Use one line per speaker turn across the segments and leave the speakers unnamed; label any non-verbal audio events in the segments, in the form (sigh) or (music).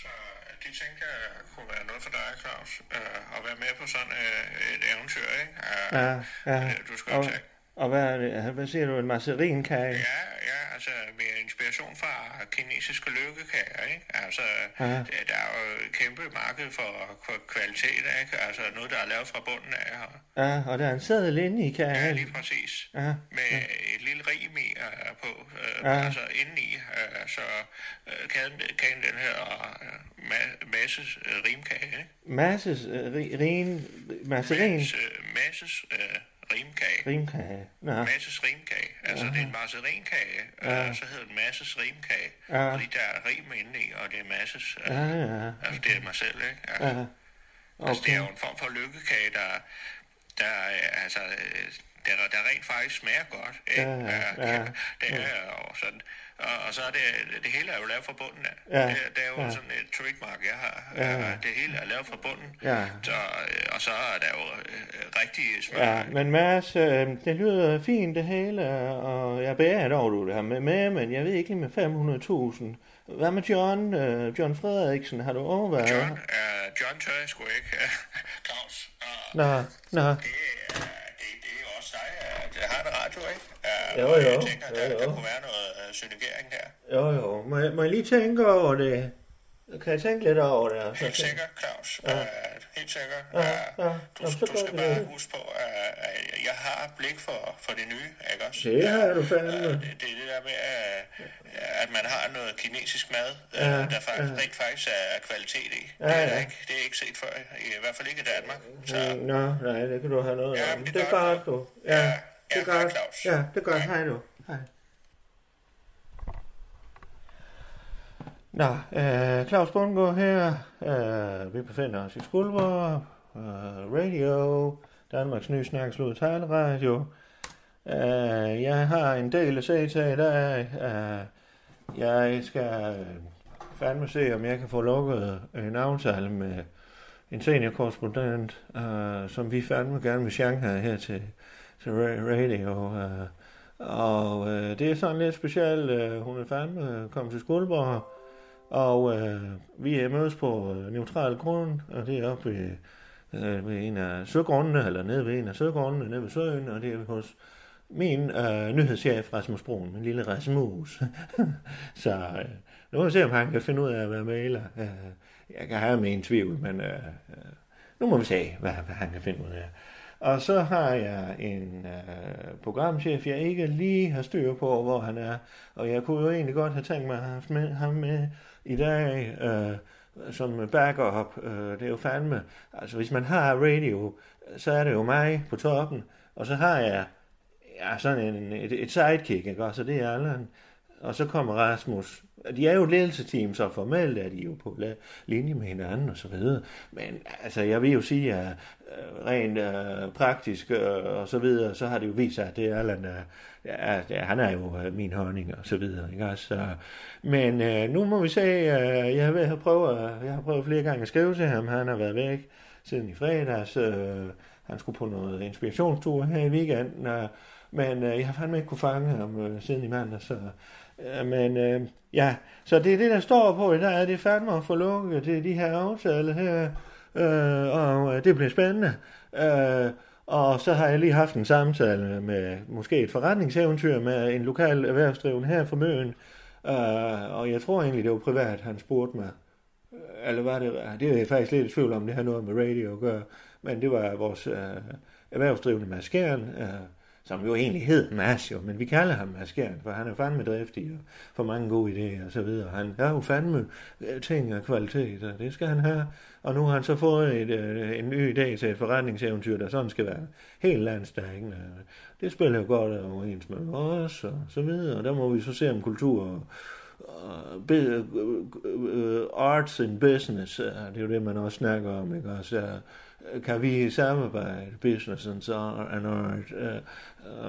Så øh, det tænker jeg kunne være noget for dig, Claus, øh, at være med på sådan øh, et eventyr, ikke? Øh,
Ja, ja.
øh, Du skal
Og,
jo tage.
og hvad, er det? hvad siger du, en macerinkage?
Ja, ja, altså med inspiration fra kinesiske lykkekager, ikke? Altså,
Ja.
der, der er jo et kæmpe marked for k- kvalitet, ikke? Altså noget, der er lavet fra bunden af her.
Ja, og der er en sædel inde i
Ja,
kagen.
lige præcis.
Ja,
Med et lille rim i øh, på, øh,
Ja.
altså indeni, øh, så øh, kagen, kagen den her øh, ma- masse øh, rimkage, ikke?
masses øh, ri- rin, macerin,
Masses, øh, masses øh, rimkage.
rimkage. Nå,
Masses rimkage. Altså, det er en marcerinkage, ja.
Ja.
og så hedder den Masses rimkage.
Ja.
Fordi der er rim inde i, og det er Masses. Øh,
ja, ja,
Altså, det er mig selv, ikke? Altså,
ja.
altså, det er
Okay.
jo en form for lykkekage, der, der øh, altså, øh, der, der rent faktisk smager godt, ikke? Øh,
Ja, ja, ja.
Det er jo sådan. Og, og så er det, det hele er jo lavet fra bunden af.
Ja,
Det, det er jo
ja.
sådan et trademark, jeg har.
Ja.
Øh, Det hele er lavet fra bunden.
Ja.
Så, øh, og så er der jo øh, rigtig smør.
Ja, men Mads, øh, det lyder fint det hele, og jeg bærer et over, du det her med, med, men jeg ved ikke lige med 500.000. Hvad med John? Øh, John Frederiksen, har du overvejet?
John, uh, John tør jeg sgu ikke. (laughs) Claus, uh,
Nå, nå.
det, uh, det, det er jo også dig, uh, det har det radio, ikke? Uh,
Jo,
Jeg
jo,
tænker,
jo,
der, der
jo.
kunne være noget uh, synergering der.
Jo, jo. Må jeg, må jeg lige tænke over det? Kan jeg tænke lidt over det? og så
Helt
tænke-
sikkert, Claus. Uh, helt sikkert. Uh,
Ja, ja.
Du,
Nå, så
du
gør
skal
vi
bare
det.
huske på, uh, at jeg har blik for, for det nye, ikke også?
Det har du
Øh,
fandme.
Det det er det der med, øh, at man har noget kinesisk mad, øh,
Ja,
der faktisk,
ja.
rent faktisk er kvalitet i.
Ja,
det, er der
ja.
ikke, det er ikke set før, i hvert fald ikke i Danmark. Så,
Mm, Nå, nej, det kan du have noget
Ja,
om.
men det
Det er
gør jeg.
godt, du.
Ja,
Ja, det
ja,
er
hej,
godt.
Claus.
Ja, det er godt.
Hej.
Hej du. Hej. Nå, øh, Claus Bundgaard her. Øh, vi befinder os i Skuldborg. Øh, radio. Danmarks nye snakslud taleradio. Øh, jeg har en del at se til i dag. Øh, jeg skal fandme se, om jeg kan få lukket en aftale med en seniorkorrespondent, øh, som vi fandme gerne vil Shanghai her til, til ra- radio. Øh. Og øh, det er sådan lidt specielt. Øh, hun er fandme øh, kommet til Skuldborg, og øh, vi er mødes på øh, neutral grund, og det er oppe ved, øh, ved en af søgrundene, eller nede ved en af søgrundene, nede ved søen, og det er hos min øh, nyhedschef Rasmus Broen, min lille Rasmus. (laughs) Så øh, nu må vi se, om han kan finde ud af at være maler. Øh, jeg kan have min tvivl, men øh, øh, nu må vi se, hvad, hvad han kan finde ud af. Og så har jeg en øh, programchef, jeg ikke lige har styr på, hvor han er. Og jeg kunne jo egentlig godt have tænkt mig at have haft med, ham med i dag øh, som backup. Øh, det er jo fandme... Altså, hvis man har radio, så er det jo mig på toppen. Og så har jeg ja, sådan en, et, et sidekick, ikke også? Og det er Allan. Og så kommer Rasmus. De er jo et ledelsesteam, så formelt er de jo på la- linje med hinanden og så videre. Men altså, jeg vil jo sige, at øh, rent øh, praktisk øh, og så videre, så har det jo vist sig, at det er Allan, der, ja, ja, han er jo øh, min honning og så videre. Ikke også? Så, men øh, nu må vi se, øh, jeg, vil have prøvet, øh, jeg har prøvet flere gange at skrive til ham, han har været væk siden i fredags. Øh, han skulle på noget inspirationstur her i weekenden, øh, men øh, jeg har fandme ikke kunne fange ham øh, siden i mandag, så... Øh, men øh, ja, så det er det, der står på i dag, det er fandme at få lukket til de her aftaler her, øh, og øh, det bliver spændende. Øh, og så har jeg lige haft en samtale med måske et forretningseventyr med en lokal erhvervsdrivende her fra Møen, øh, og jeg tror egentlig, det var privat, han spurgte mig, Øh, eller var det, det er jeg faktisk lidt i tvivl om, det har noget med radio at gøre, men det var vores øh, erhvervsdrivende Mads Kjern, øh, som jo egentlig hed Mads jo, men vi kalder ham Mads Kjern, for han er fandme driftig og får mange gode idéer og så videre. Han har jo fandme øh, ting af kvalitet, og det skal han have. Og nu har han så fået et, øh, en ny idé til et forretningseventyr, der sådan skal være helt landstækkende. Det spiller jo godt overens med os og så videre, og der må vi så se om kultur og bi- øh, øh, arts and business, øh, det er jo det, man også snakker om, ikke også? Øh, Kan vi samarbejde, business and art, and art øh,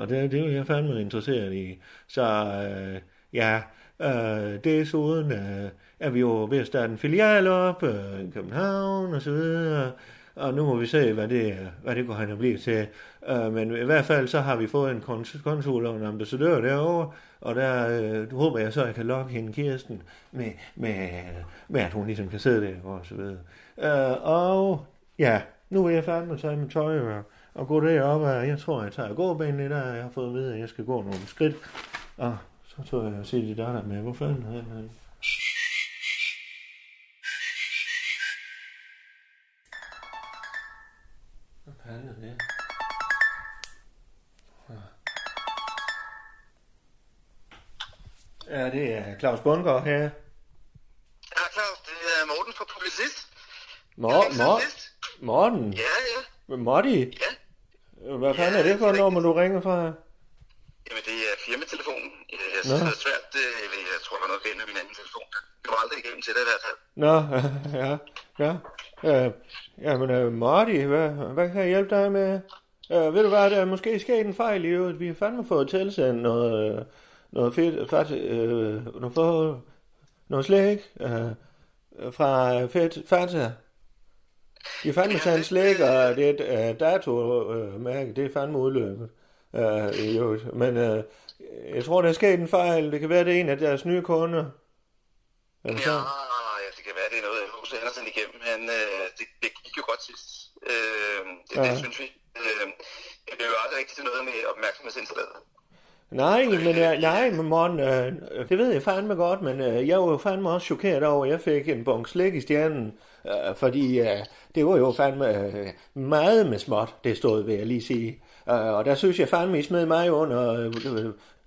og det, det er jo jeg fandme interesseret i. Så øh, ja, øh, desuden øh, er vi jo ved at starte en filial op øh, i København og så videre, og nu må vi se, hvad det, hvad det går han at blive til. Øh, men i hvert fald så har vi fået en kons- konsul og en ambassadør derovre, og der øh, håber jeg så, at jeg kan lokke hende Kirsten med, med, med at hun ligesom kan sidde der og så videre. Øh, og ja, nu er jeg færdig med at tage mit tøj og, og gå derop, og jeg tror, jeg tager gåbanen i dag. Jeg har fået at vide, at jeg skal gå nogle skridt. Og Ah, så tror jeg, jeg siger det der med, hvor fanden er han? Hvad fanden er det? Ah. Ja, det er Claus Bundgaard her.
Ja, Claus, det er Morten fra Publicist.
Mor-
Publicist.
Mor- Morten?
Ja, ja,
Morty?
ja.
Hvad fanden er det for et nummer, du ringer fra?
Jamen, det er firmatelefonen. Jeg
Nå.
synes, det er svært. Det, jeg tror, der er noget galt med min anden telefon. Det var aldrig igennem til det i hvert fald.
Nå, (laughs) ja, ja. Øh, jamen, øh, Marty, hvad, hvad kan jeg hjælpe dig med? Øh, ved du hvad, der er måske sket en fejl i øvrigt. Vi har fandme fået tilsendt noget, øh, noget fedt, faktisk, øh, noget, for, noget slik øh, fra øh, fedt, Fanta. De har fandme sendt slik, og det er et øh, datomærke, det er fandme udløbet. Øh, i øvrigt. Men øh, jeg tror, der er sket en fejl. Det kan være, det er en af deres nye kunder. Eller
Ja, ja, det kan være, det er noget, H.C. Andersen igennem, men øh, det, det gik jo godt sidst. Øh, det, ja.
Ja.
det synes vi. Øh, det blev jo aldrig rigtig til noget med opmærksomhedsindslaget.
Nej, men, jeg, nej, men Morten, øh, det ved jeg fandme godt, men øh, jeg var jo fandme også chokeret over, at jeg fik en bunke slik i stjernen, øh, fordi øh, det var jo fandme øh, meget med småt, det stod, vil jeg lige sige. Øh, og der synes jeg fandme, I smed mig under, øh,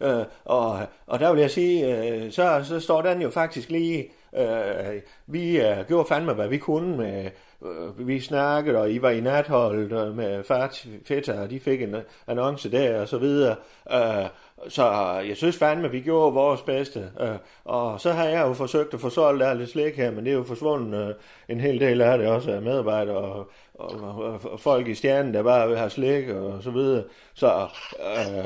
øh, øh, og, og der vil jeg sige, øh, så, så står den jo faktisk lige, øh, vi øh, gjorde fandme, hvad vi kunne med, øh, vi snakkede, og I var i natholdet øh, med fart, fætter, og de fik en annonce der, og så videre. Øh, så jeg synes fandme, at vi gjorde vores bedste. Øh, og så har jeg jo forsøgt at få solgt alt det slik her, men det er jo forsvundet øh, en hel del af det også af medarbejdere og, og, og, og folk i stjernen, der bare vil have slik og så videre. Så øh,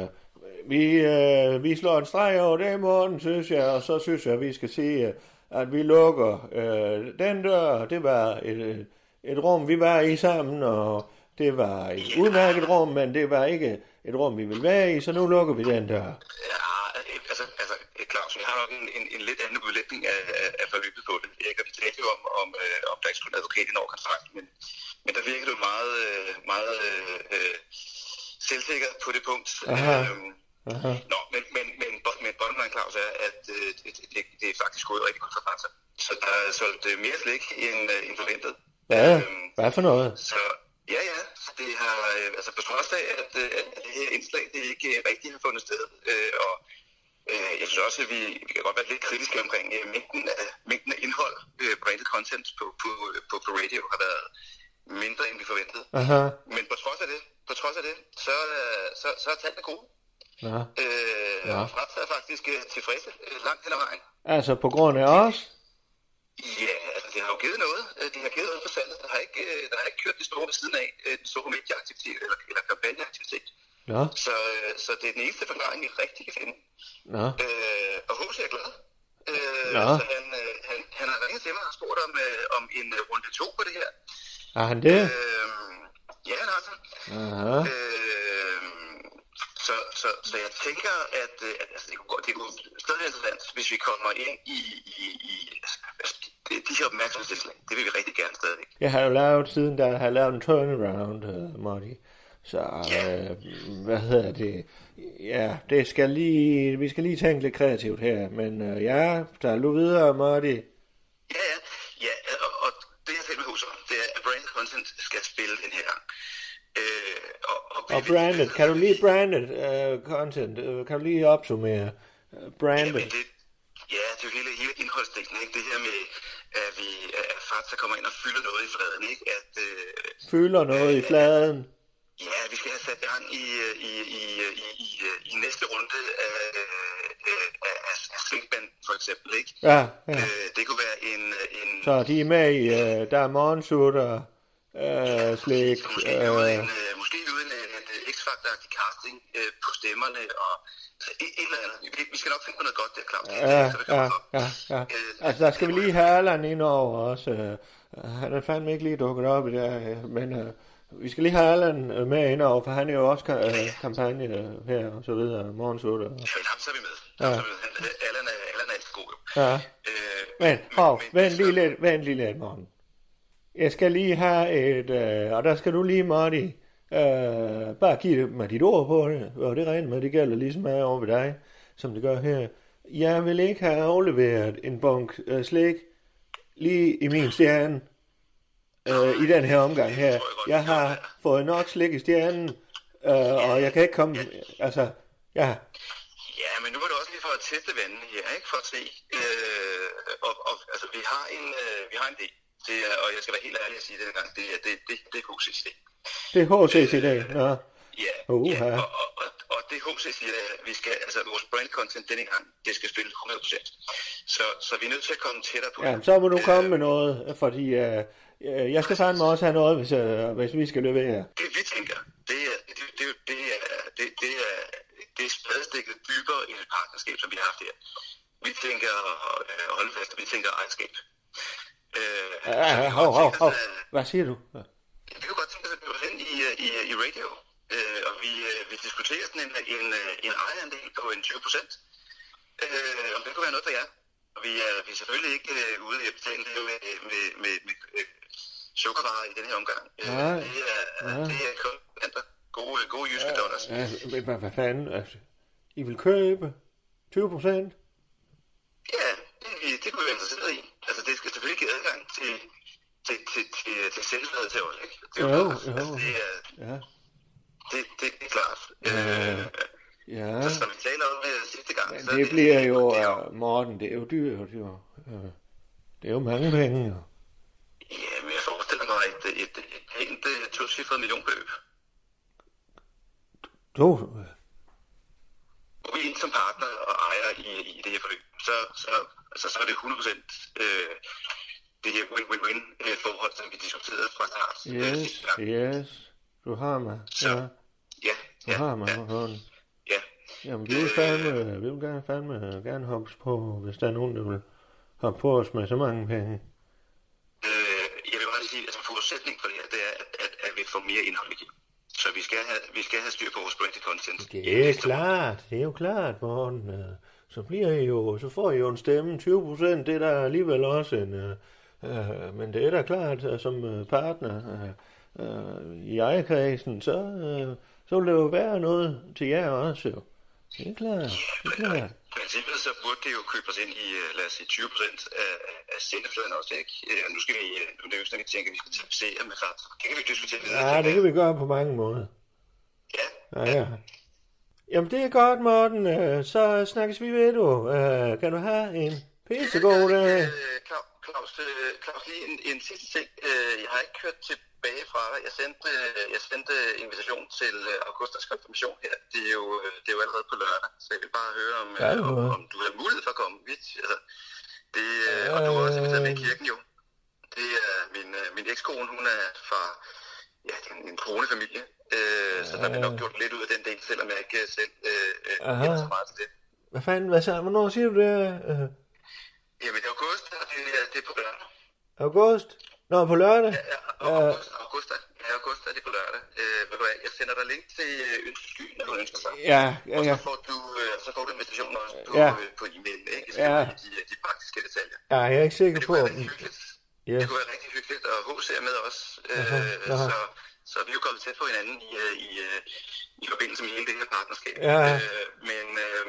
vi, øh, vi slår en streg over det i morgen, synes jeg, og så synes jeg, at vi skal sige, øh, at vi lukker øh, den dør. Det var et, øh, et rum, vi var i sammen, og det var et udmærket rum, men det var ikke et rum, vi ville være i, så nu lukker vi den dør.
Ja, øh, altså, altså øh, Claus, vi har nok en, en, en lidt anden udlægning af, af, af forløbet på det. Erik, og vi talte jo om, om, øh, om der ikke skulle en advokat ind over kontrakten, men, men der virker du meget, øh, meget øh, øh, selvsikker på det punkt.
Aha.
Øhm,
Aha.
Nå, men, men, men, bo- men bottom line, Claus, er, at øh, det, det, det er faktisk gået rigtig godt for Fanta. Så der er solgt øh, mere slik end, øh, end forventet.
Hvad?
Øhm,
Hvad for noget?
så ja, ja, så det har, øh, altså på trods af, at, øh, at det her indslag, det ikke øh, rigtig har fundet sted, øh, og øh, jeg synes også, at vi, vi kan godt være lidt kritiske omkring øh, mængden, af, mængden af indhold, øh, branded content på, på, øh, på, på radio har været mindre, end vi forventede.
Aha.
Men på trods af det, på trods af det, så, øh, så, så er tallene gode.
Nå.
Øh,
Ja.
ja. Og Frans er faktisk øh, tilfredse øh, langt hen ad vejen.
Altså på grund af os?
Ja, altså det har jo givet noget. Øh, Det har givet noget for salget. Der har ikke, øh, der har ikke kørt det store ved siden af, øh, den store medieaktivitet eller, eller kampagneaktivitet.
Nå,
Så, øh, så det er den eneste forklaring, vi rigtig kan finde.
nå.
Øh, og Hose er glad. Øh,
Nå.
Så han, øh, han, han har ringet til mig og spurgt om, øh, om en øh, runde to på det her.
Er han det?
Øh, ja, han har sådan.
Aha.
Øh, så, så, så jeg tænker, at, øh, at altså, det, kunne, godt- det kunne stadig være interessant, hvis vi kommer ind i, i, i altså, de, de her opmærksomhedsindslag. Det vil vi rigtig gerne stadigvæk.
Jeg har jo lavet siden, der har jeg lavet en turnaround, uh, Marty. Så øh, hvad hedder det? Ja, det skal lige, vi skal lige tænke lidt kreativt her. Men øh, ja, der du videre, Marty.
Ja, ja. ja og, og det jeg talte med Hus om, det er, at brand content skal spille den her gang. Øh, og, altså,
Og branded, kan du lige branded uh, content? Uh, kan du lige opsummere? Uh, branded.
Jamen, det, ja, det er jo hele, hele indholdsdelen, ikke? Det her med, at vi at Fakta kommer ind og fylder noget i fladen, ikke? At, øh,
Fylder noget i fladen.
Ja, vi skal have sat gang i, øh, i, i, øh, i, i, øh, i næste runde af, øh, øh, af, af, af Slinkbanden, for eksempel. Ikke?
Ja, ja.
Øh, det kunne være en... øh, en
Så de er med i, øh, der er morgensutter, øh, slik,
Måske uden,
øh,
en, øh, måske uden en, en øh, x-faktor-agtig casting øh, på stemmerne og altså, et, et eller andet. Vi, vi skal nok finde på noget godt der, Claus. Det er
ja,
ikke så, det
ja,
kommer op.
ja, ja.
Øh,
Altså, der skal vi
det må
lige
jeg-
have Allan ind over også. øh. Han er fandme ikke lige dukket op i det her, øh, men øh, vi skal lige have Allan øh, med ind over, for han er jo også ka- øh, kampagne øh, her og så videre, morgensutter.
Jamen, ham så er vi med. Ja.
Ja.
Ham, så er vi med. Han, øh, Allan, er, Allan er altid god, jo.
Ja.
Øh,
Men, hov, vent
så-
lige lidt, vent lige lidt, morgen. Jeg skal lige have et, øh, og der skal du lige, Marty, øh, bare give mig dit ord på det, og det regner med, det gælder ligesom her over ved dig, som det gør her. Jeg vil ikke have afleveret en bunk øh, slik lige i min stjerne øh, i den her omgang her. Jeg har fået nok slik i stjernen, øh, og jeg kan ikke komme, altså, ja,
Ja, men nu var det også lige for at teste vandene her, ikke? For at se. Øh, og, og, altså, vi har en, øh, vi har en del. Det er, og jeg skal være helt ærlig at sige det her gang, det er, det, det, det er HCC.
det er HC's i dag. Nå,
Ja,
Uha.
ja og, og, og, og det HCC, at vi skal, altså vores brand content denne gang, det skal spille 100%. Så, så vi er nødt til at komme tættere på
Ja,
det.
så må du komme med noget, fordi øh, øh, jeg skal fandme også have noget, hvis, øh, hvis vi skal levere.
det vi tænker, det er, det, det, det er, det, det er, det er spadestikket dybere end et partnerskab, som vi har haft her. Vi tænker, øh, hold fast, vi tænker ejerskab. Øh, så
Ja,
vi
hov,
kunne
hov,
godt
hov.
tænke os, øh,
Hvad siger du?
Vi kunne godt tænke os at blive hen i, øh, i, øh, i radio, øh, og vi, øh, vi diskuterer sådan en, en, øh, en ejerandel på en 20 procent. Øh, om det kunne være noget for jer. Og vi er, vi er selvfølgelig ikke øh, ude i at betale det med, med, med, med øh, sukkervarer i den her omgang. Øh,
Nej.
det er,
Nej.
det er kun andre gode, gode jyske dollars.
Ja, men hvad, hvad fanden? Altså, I vil købe 20 procent?
Ja, det, er vi- det kunne vi være interesseret i. Altså, det skal selvfølgelig give adgang til, til, til, til, til selvladet til os, ikke? Det er
Jo,
klart.
jo.
Altså, det, er,
Ja.
det, det, det er klart.
Ja.
Øh,
Ja,
Så som vi taler om øh, sidste gang,
men
så
det bliver jo,
det er
øh, Morten, det er jo dyrt, jo. Øh, Det er jo mange penge, jo.
Ja, men jeg forestiller mig et, et, et, et helt øh, tocifret millionbeløb.
Du, øh,
Går vi ind som partner og ejer i, i det her forløb, så, så, altså, så er det 100 procent øh, det her win-win-win øh, forhold, som vi diskuterede fra start. øh,
yes,
sidste gang.
yes, du har mig. Ja,
Ja,
du
ja,
har mig,
ja,
Morten.
ja.
Jamen, vi vil fandme, vi vil gerne fandme gerne hoppe på, hvis der er nogen, der vil hoppe på os med så mange penge.
Øh, jeg vil bare lige sige, at altså, forudsætningen for det her, det er, at, at, at vi får mere indhold igennem. Så vi skal, have, vi skal have styr på vores branded content.
Det er klart, det er jo klart, Morten. øh, Så bliver I jo, så får I jo en stemme, 20 procent, det er der alligevel også en, øh, øh, men det er da klart, øh, som øh, partner øh, øh, i ejerkredsen, så, øh, så vil det jo være noget til jer også, jo. Det er klart, det er klart.
I princippet så burde det jo købe os ind i, øh, lad os sige, 20 procent af, af- af sendefladen også, ikke? Øh, Og nu skal vi, øh, nu er det jo ikke sådan, at vi tænker, at vi skal tapisere med ret. Det kan vi diskutere videre.
Ja, det kan vi gøre på mange måder.
Ja,
Ja, ja. Jamen, det er godt, Morten. Øh, Så snakkes vi ved, du. Øh, Kan du have en pissegod dag?
Øh, Claus, Claus, øh, Claus, lige en, en sidste ting. Øh, Jeg har ikke kørt tilbage fra dig. Jeg sendte, øh, jeg sendte invitation til øh, Augustas konfirmation her. Det er, jo, øh, det er jo allerede på lørdag, så jeg vil bare høre, om,
Ja,
øh,
det
om,
var-
om du har mulighed for at komme. Vi, altså, det, øh, og du er også inviteret med i kirken jo. Det er min, øh, min ekskone, hun er fra ja, det er en, en kronefamilie. Øh, så der bliver nok gjort lidt ud af den del, selvom jeg ikke øh, selv øh, øh,
Aha.
kender så meget til det.
Hvad fanden, hvad så? Hvornår siger du det? Øh,
Jamen, det er august, og det, er- det er på lørdag.
August? Nå, på lørdag?
Ja,
Ja.
august, august, er- ja, august er det på lørdag. Øh, ved du hvad, jeg sender dig link til øh, ønskeskyen, når du ønsker sig.
Ja, ja,
Og
ja.
så får du, øh, så får du invitationen også på,
Ja.
ja. øh, på e-mail, ikke? Så
Ja.
ja. de, de praktiske detaljer.
Ja, jeg er ikke sikker
Men det
på,
kunne
om...
være rigtig hyggeligt.
Ja.
Det kunne være rigtig hyggeligt, og HC er med os.
Aha,
Øh,
aha.
så, så vi er jo kommet tæt på hinanden i, øh, i, øh, i forbindelse med hele det her partnerskab.
Ja.
Øh, men øh,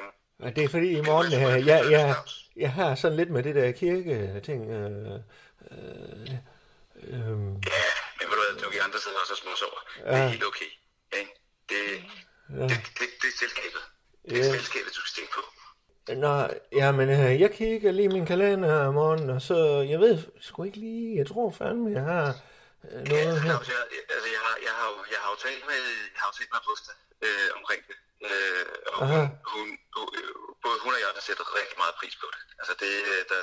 Og det er fordi i morgen,
Det kunne være
øh,
super
jeg,
hyggeligt,
jeg,
Claus.
jeg har sådan lidt med det der kirke-ting. Øh, øh, øh,
ja, men ved du hvad, du de andre sidder også og småsover. Det er helt okay. Ikke? Det,
Ja.
det, det, det er selskabet. Det
Ja.
er selskabet, du skal tænke på.
Nå, jamen, øh, jeg kigger lige i min kalender i morgen, og så, jeg ved sgu ikke lige, jeg tror fandme, jeg har øh,
Ja,
noget
altså,
her?
Claus, jeg, altså, jeg, har, jeg, har, jo- jeg har jo talt med, jeg har jo talt med Busta øh, omkring det. Øh, og
Aha.
hun, hun, hun, øh, både hun og jeg har sætter rigtig meget pris på det. Altså det, øh, der,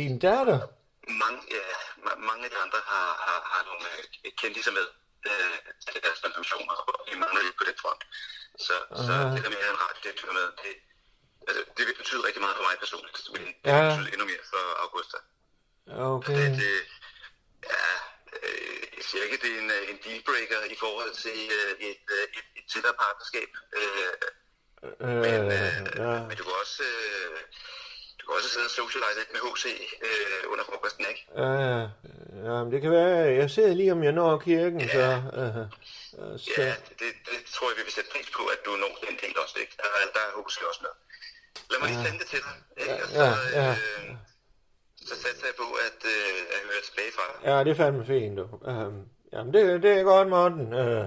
Din datter?
mange, ja, ma- mange af de andre har, har, har nogle øh, kendte med øh, til deres konfirmationer, og vi mangler lidt på den front. Så, så
Aha.
det der med at have en radiodirektør med, det, altså, det betyder rigtig meget for mig personligt, men det
Ja.
betyder endnu mere for Augusta.
Okay.
Det, det, øh, ja, øh, jeg siger ikke, det er en, øh, en dealbreaker i forhold til øh, et, øh, et, et tættere partnerskab. Øh, men, øh,
Øh, ja.
men du kan også... Øh, du kan også sidde og socialize lidt med HC øh, under frokosten, ikke?
Ja, ja. Jamen, det kan være, jeg ser lige, om jeg når kirken, så... Øh, øh, så
Ja, det, det tror jeg, vi vil sætte pris på, at du når den del også, ikke? Der, der er HC også med. Lad mig lige sende det til dig, ikke? Og så,
Ja, ja,
øh, så satser jeg på, at, øh, at høre tilbage fra dig.
ja, det er fandme fint, du. Øh, jamen, det, det er godt, Morten. Øh,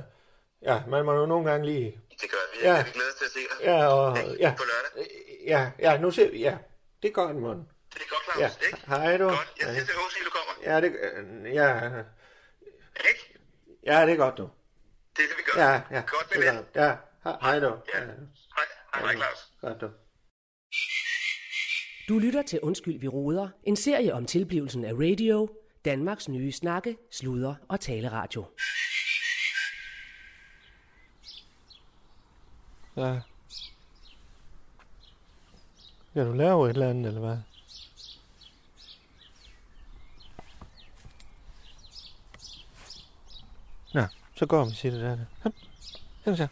ja, man må jo nogle gange lige...
Det gør vi.
Ja.
Ja. Vi glæder os til at se dig.
Ja, og...
Ikke?
Ja,
På lørdag.
Øh, ja, ja, nu ser vi... Ja, det er godt, Morten.
Det er godt, Claus,
Ja,
ikke?
hej du.
Godt, jeg siger til HC, du kommer.
Ja, det, øh, ja,
Ikke?
ja, det er godt, du.
Det er det, vi gør.
Ja, ja.
Godt, min
det er
ven.
godt. Ja, he- hej du.
Ja. Hej, hej, hej, Claus.
Godt, du.
Du lytter til Undskyld, vi roder, en serie om tilblivelsen af radio, Danmarks nye snakke, sludre og taleradio.
Ja. Skal du lave et eller andet, eller hvad? Nå, så går vi til det der. Kom, kom så.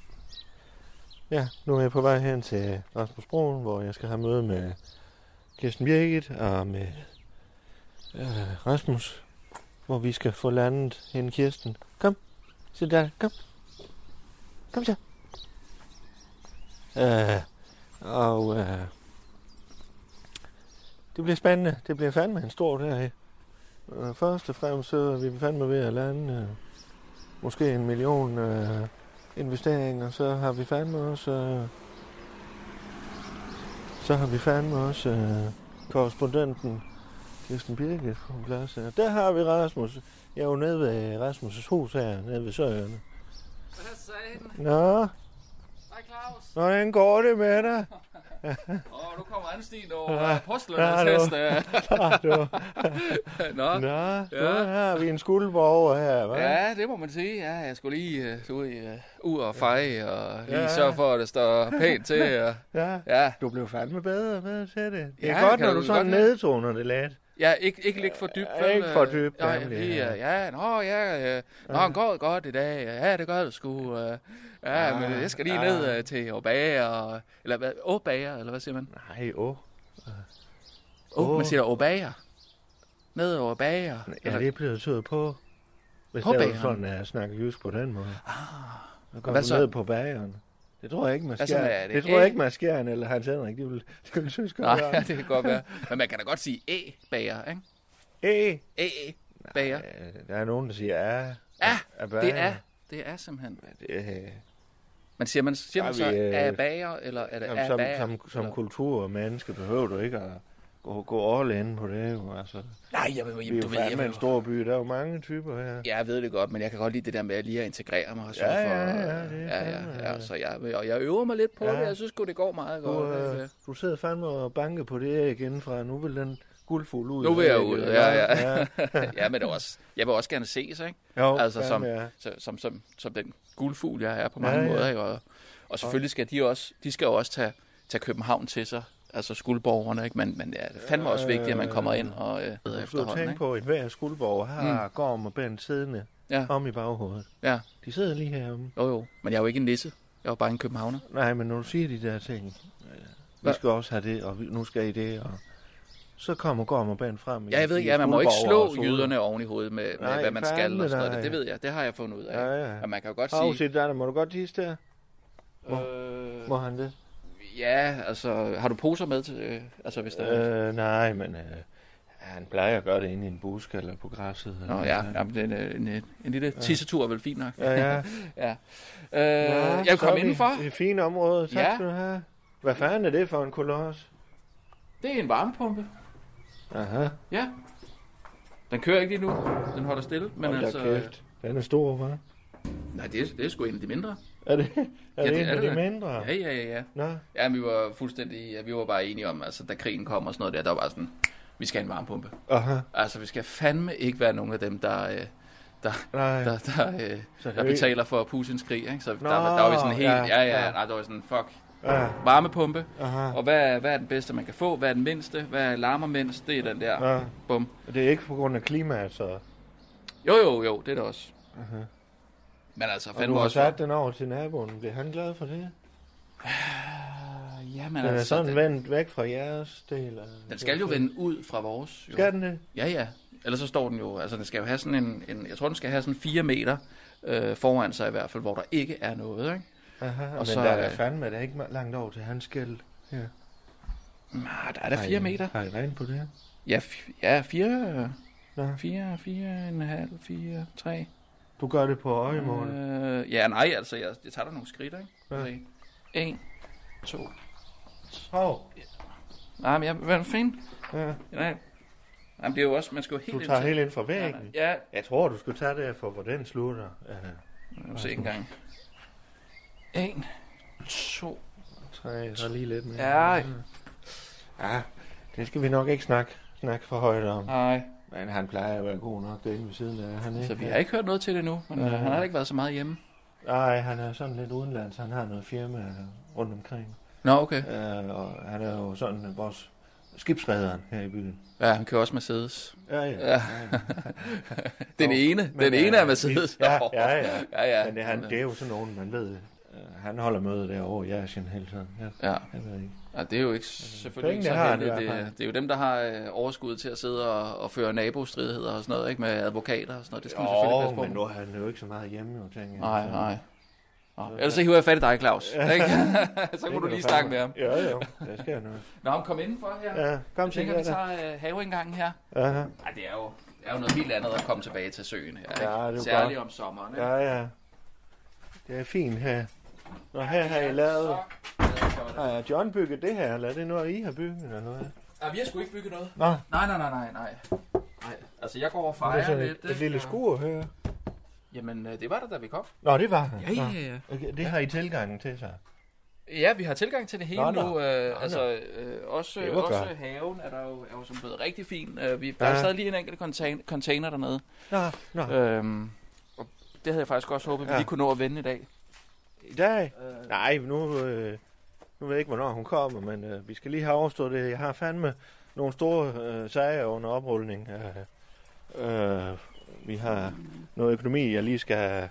Ja, nu er jeg på vej hen til Rasmus Broen, hvor jeg skal have møde med Kirsten Birgit og med øh, Rasmus, hvor vi skal få landet hende Kirsten. Kom, sit der, kom. Kom så. Øh, og øh, det bliver spændende. Det bliver fandme en stor dag. Øh, først og fremmest så er vi fandme ved at lande øh, måske en million øh, investeringer. Så har vi fandme også... Øh, så har vi fandme også øh, korrespondenten Kirsten Birgit på plads her. Der har vi Rasmus. Jeg er jo nede ved Rasmus' hus her, nede ved Søerne.
Hvad sagde den?
Nå,
Hej Claus.
hvordan går det med dig?
Åh, oh, nu kommer anstigen over
Ja.
ja. postlønnertest. Ja,
Ah, du. (laughs)
Nå.
Nå, ja.
Ja.
nu har vi en skuldborger her, hva'?
Ja, det må man sige. Ja, jeg skulle lige øh, ud, øh, ud og feje og lige
Ja.
ja. sørge for, at det står pænt til. Og,
ja.
ja.
Du blev fandme bedre og bedre til det. Det er
Ja,
godt,
kan
når
du
du sådan
godt lide.
nedtoner det lidt.
ja, ikke, ikke ligge for dybt. øh,
Ja, ikke for dybt,
Nej,
nemlig,
lige,
ja.
øh, ja, nå, ja, øh, nå, går det godt i dag. Ja, det gør det sgu. øh. Ja,
Ah,
men jeg skal lige
ah.
ned øh, til Åbager, eller hvad, Åbager, eller hvad siger man?
Nej, åh.
Åh,
Åh.
man siger Åbager. Ned over bager.
Ja, det er blevet tydet på. Hvis
På
det er
bageren.
sådan, at jeg snakker jysk på den måde. Ah. Så går
Hvad
du
så?
ned på bageren. Det tror jeg ikke, man
Hvad så
skjern.
med
Det
det?
tror jeg
Æg?
ikke, man skjern eller Hans Henrik. De vil, de vil synes godt.
Nej,
om
(laughs) det
det.
kan godt være. Men man kan da godt sige æ-bager, ikke?
Æ.
Æ-bager.
Øh, Der er nogen, der siger, ja.
Ja,
af
det
bager.
er. Det er simpelthen.
Det, øh,
Men siger man, siger man
Ej,
så
vi, øh,
af bager, eller er det
Som,
af
som,
bager?
som, som
eller?
kultur og menneske behøver du ikke at gå, gå all in på det. Jo. Altså,
Nej, jeg, ved-
vi er
jeg,
jo
du ved, jeg,
fandme en
ved,
stor by, der er jo mange typer her.
jeg ved det godt, men jeg kan godt lide det der med at lige at integrere mig og sørge
Ja,
for...
ja, ja, det er
ja, ja,
fandme, ja.
ja, så jeg, og jeg øver mig lidt på
Ja.
ja. det, jeg synes sgu, det går meget
Du,
godt. ikke?
øh, du sidder fandme og banker på det æg indenfra. Nu vil den guldfugl ud.
nu vil jeg
af ægget,
ud,
eller
ja,
hvad?
ja. (laughs) ja, men det er også, jeg vil også gerne ses, ikke?
Jo,
(laughs) altså som,
fandme, ja.
så- som, som, som den guldfugl, jeg er på mange
Ja,
ja,
ja.
ja. måder. Ikke? Og, og selvfølgelig skal de også, de skal jo også tage, tage København til sig, altså skuldborgerne, ikke? Men, men ja, det er fandme også vigtigt, at man kommer ind og øh, ved
Du skal jo
efterhånden,
tænke
ikke?
på, at hver skuldborg har mm. Gorm og Bent siddende
Ja,
om i baghovedet.
ja,
De sidder lige heromme.
jo jo, men jeg er jo ikke en nisse, jeg er jo bare en københavner.
Nej, men når du siger de der ting, øh, vi
Hva?
skal også have det, og vi, nu skal I det, og så kommer Gorm og Bent frem. i
Ja, jeg ved ikke,
de
ja, man må ikke
skuldborger
slå
og så-
jyderne oven i hovedet med, med
Nej,
hvad man skal
fandme
og sådan noget.
nej.
Det, det ved jeg, det har jeg fundet ud af.
Ja, ja.
Og man kan jo godt
Hov,
sige...
se der, må du godt tisse der?
Øh,
Må han det?
ja, altså, har du poser med til... Øh, altså, hvis der er...
Øh, nej, men øh, han plejer at gøre det inde i en busk eller på græsset. Eller
Nå
noget
ja,
sådan.
ja men det er en, en, en lille tissetur er vel fint nok.
Ja, ja.
ja. Øh,
Nå,
jeg
så
vil
er
komme
vi
indenfor.
i Det fine område, tak
Ja.
skal du have. Hvad fanden er det for en koloss?
Det er en varmepumpe.
Aha,
Ja. Den kører ikke lige nu. Den holder stille. Men
men
altså,
altså, kæft. Den er stor, hva'?
Nej, det er, det er sgu en af de mindre.
Er det, er ja, det, en af de mindre?
Ja, ja, ja. ja.
Nå,
Ja, men vi var fuldstændig, ja, vi var bare enige om, altså da krigen kom og sådan noget der, der var bare sådan, vi skal have en varmepumpe.
aha.
Altså, vi skal fandme ikke være nogen af dem, der, øh, der,
Nej.
der, der, øh,
Så
der
det-
betaler for Putins krig. Ikke? Så
Nå,
der, var- der var vi sådan helt,
ja,
ja, ja,
ja.
ja. Nej, der var sådan, fuck,
Ja,
varmepumpe,
Aha.
og hvad er, hvad er den bedste, man kan få, hvad er den mindste, hvad larmer mindst, det er den der,
Ja.
bum.
og det er ikke på grund af klimaet, så...
Jo, jo, jo, det er det også. Men altså,
Og du
fandme
har
også...
sat den over til naboen. Bliver han glad for det?
Ja, men
Den er
altså,
sådan
den,
vendt væk fra jeres del. af-
den skal jo vende ud fra vores. Jo.
Skal den det?
Ja, ja. Ellers så står den jo, altså den skal jo have sådan en, en jeg tror den skal have sådan 4 meter øh, foran sig i hvert fald, hvor der ikke er noget, ikke?
Aha, og men
så,
så, der er da
øh,
fandme der er ikke langt over til hans skæld. Ja.
Nej, Ah, der er der 4 meter.
Har I regnet på det?
Ja, f- ja 4,
Nå,
4, 4, en halv, 4, 3.
du gør det på øjemål. Øh,
Øh, ja, nej, altså jeg, jeg tager da nogle skridt, ikke? Okay. En, to.
Hov,
Nej, men jeg, hvad fanden?
ja,
Nej. Nej, men det er jo også, man skal jo helt
du
ind
tager
til-
helt ind fra
Ja,
væggen.
nej. Ja,
Jeg tror, du skulle tage det her for, hvor den slutter. Ja,
nu se engang. En, to.
tre, så lige lidt mere.
Ja,
ja. Det skal vi nok ikke snakke, snakke for højt om.
nej.
Men han plejer at være god nok derinde ved siden af. Han, ikke?
Så vi har ikke hørt noget til det nu, men øh, han har da ikke været så meget hjemme.
Nej, han er sådan lidt udenlands. Han har noget firma øh, rundt omkring.
Nå, okay.
Øh, og han er jo sådan øh, vores skibsrederen her i byen.
Ja, han kører også Mercedes.
Ja, ja.
Ja. den ene, den
øh,
ene er Mercedes.
Ja, ja, ja.
ja, ja.
Men det, han, det er jo sådan nogen, man ved. øh, Han holder møde derovre i Asien hele tiden. Ja,
Ja,
jeg ved ikke.
og det er jo ikke selvfølgelig
Pengene
ikke så
har han
heldigt.
i hvert fald.
Det, det er jo dem, der har øh, overskud til at sidde og, og føre nabostridigheder og sådan noget, ikke? Med advokater og sådan noget. Det skal man selvfølgelig
Jo,
passe på.
men nu er han jo ikke så meget hjemme, jo, tænker jeg.
Nej,
Så-
nej. Nå, ellers så hiver jeg fat i
(laughs)
dig, Claus. Ikke? (laughs) så
Det
kunne du
kan
lige
fandme-
snakke med ham.
Ja, jo, der sker noget.
Nå, men kom indenfor her.
Ja, kom
Jeg
til
tænker, vi
her. da.
tager øh, haveindgangen her.
Aha.
Ej, det er jo, det er jo noget helt andet at komme tilbage til søen her, ikke?
Ja, det er jo
Særligt
godt.
om sommeren, ikke?
Ja, ja. Det er fint her. Og her har I lavet...
øh,
Har John bygget det her, eller er det noget, I har bygget, eller noget?
Ja, vi har sgu ikke bygget noget.
Nå,
Nej, nej, nej, nej, nej. Nej, altså jeg går og
det er
fejrer
sådan
lidt.
et, et
ikke?
lille
Og-
skur her.
Jamen, øh, det var der, da vi kom.
Nå, det var han.
Ja, ja, ja.
Nå, Okay, det har I tilgangen til sig.
Ja, vi har tilgang til det hele
Nå,
nå,
nå.
nu. Øh, altså, øh, også,
Det var
også
godt.
haven er der jo, er jo som blevet rigtig fin. Øh, vi, der
Ja.
ja. sad lige en enkelt contain- container dernede.
Nå, nå.
Øhm, og det havde jeg faktisk også håbet, at vi
Ja.
lige kunne nå at vende i dag.
I dag? Nej, nu, øh, nu ved jeg ikke, hvornår hun kommer, men øh, vi skal lige have overstået det. Jeg har fandme nogle store øh, sager under oprulning. Øh, øh, vi har noget økonomi, jeg lige skal...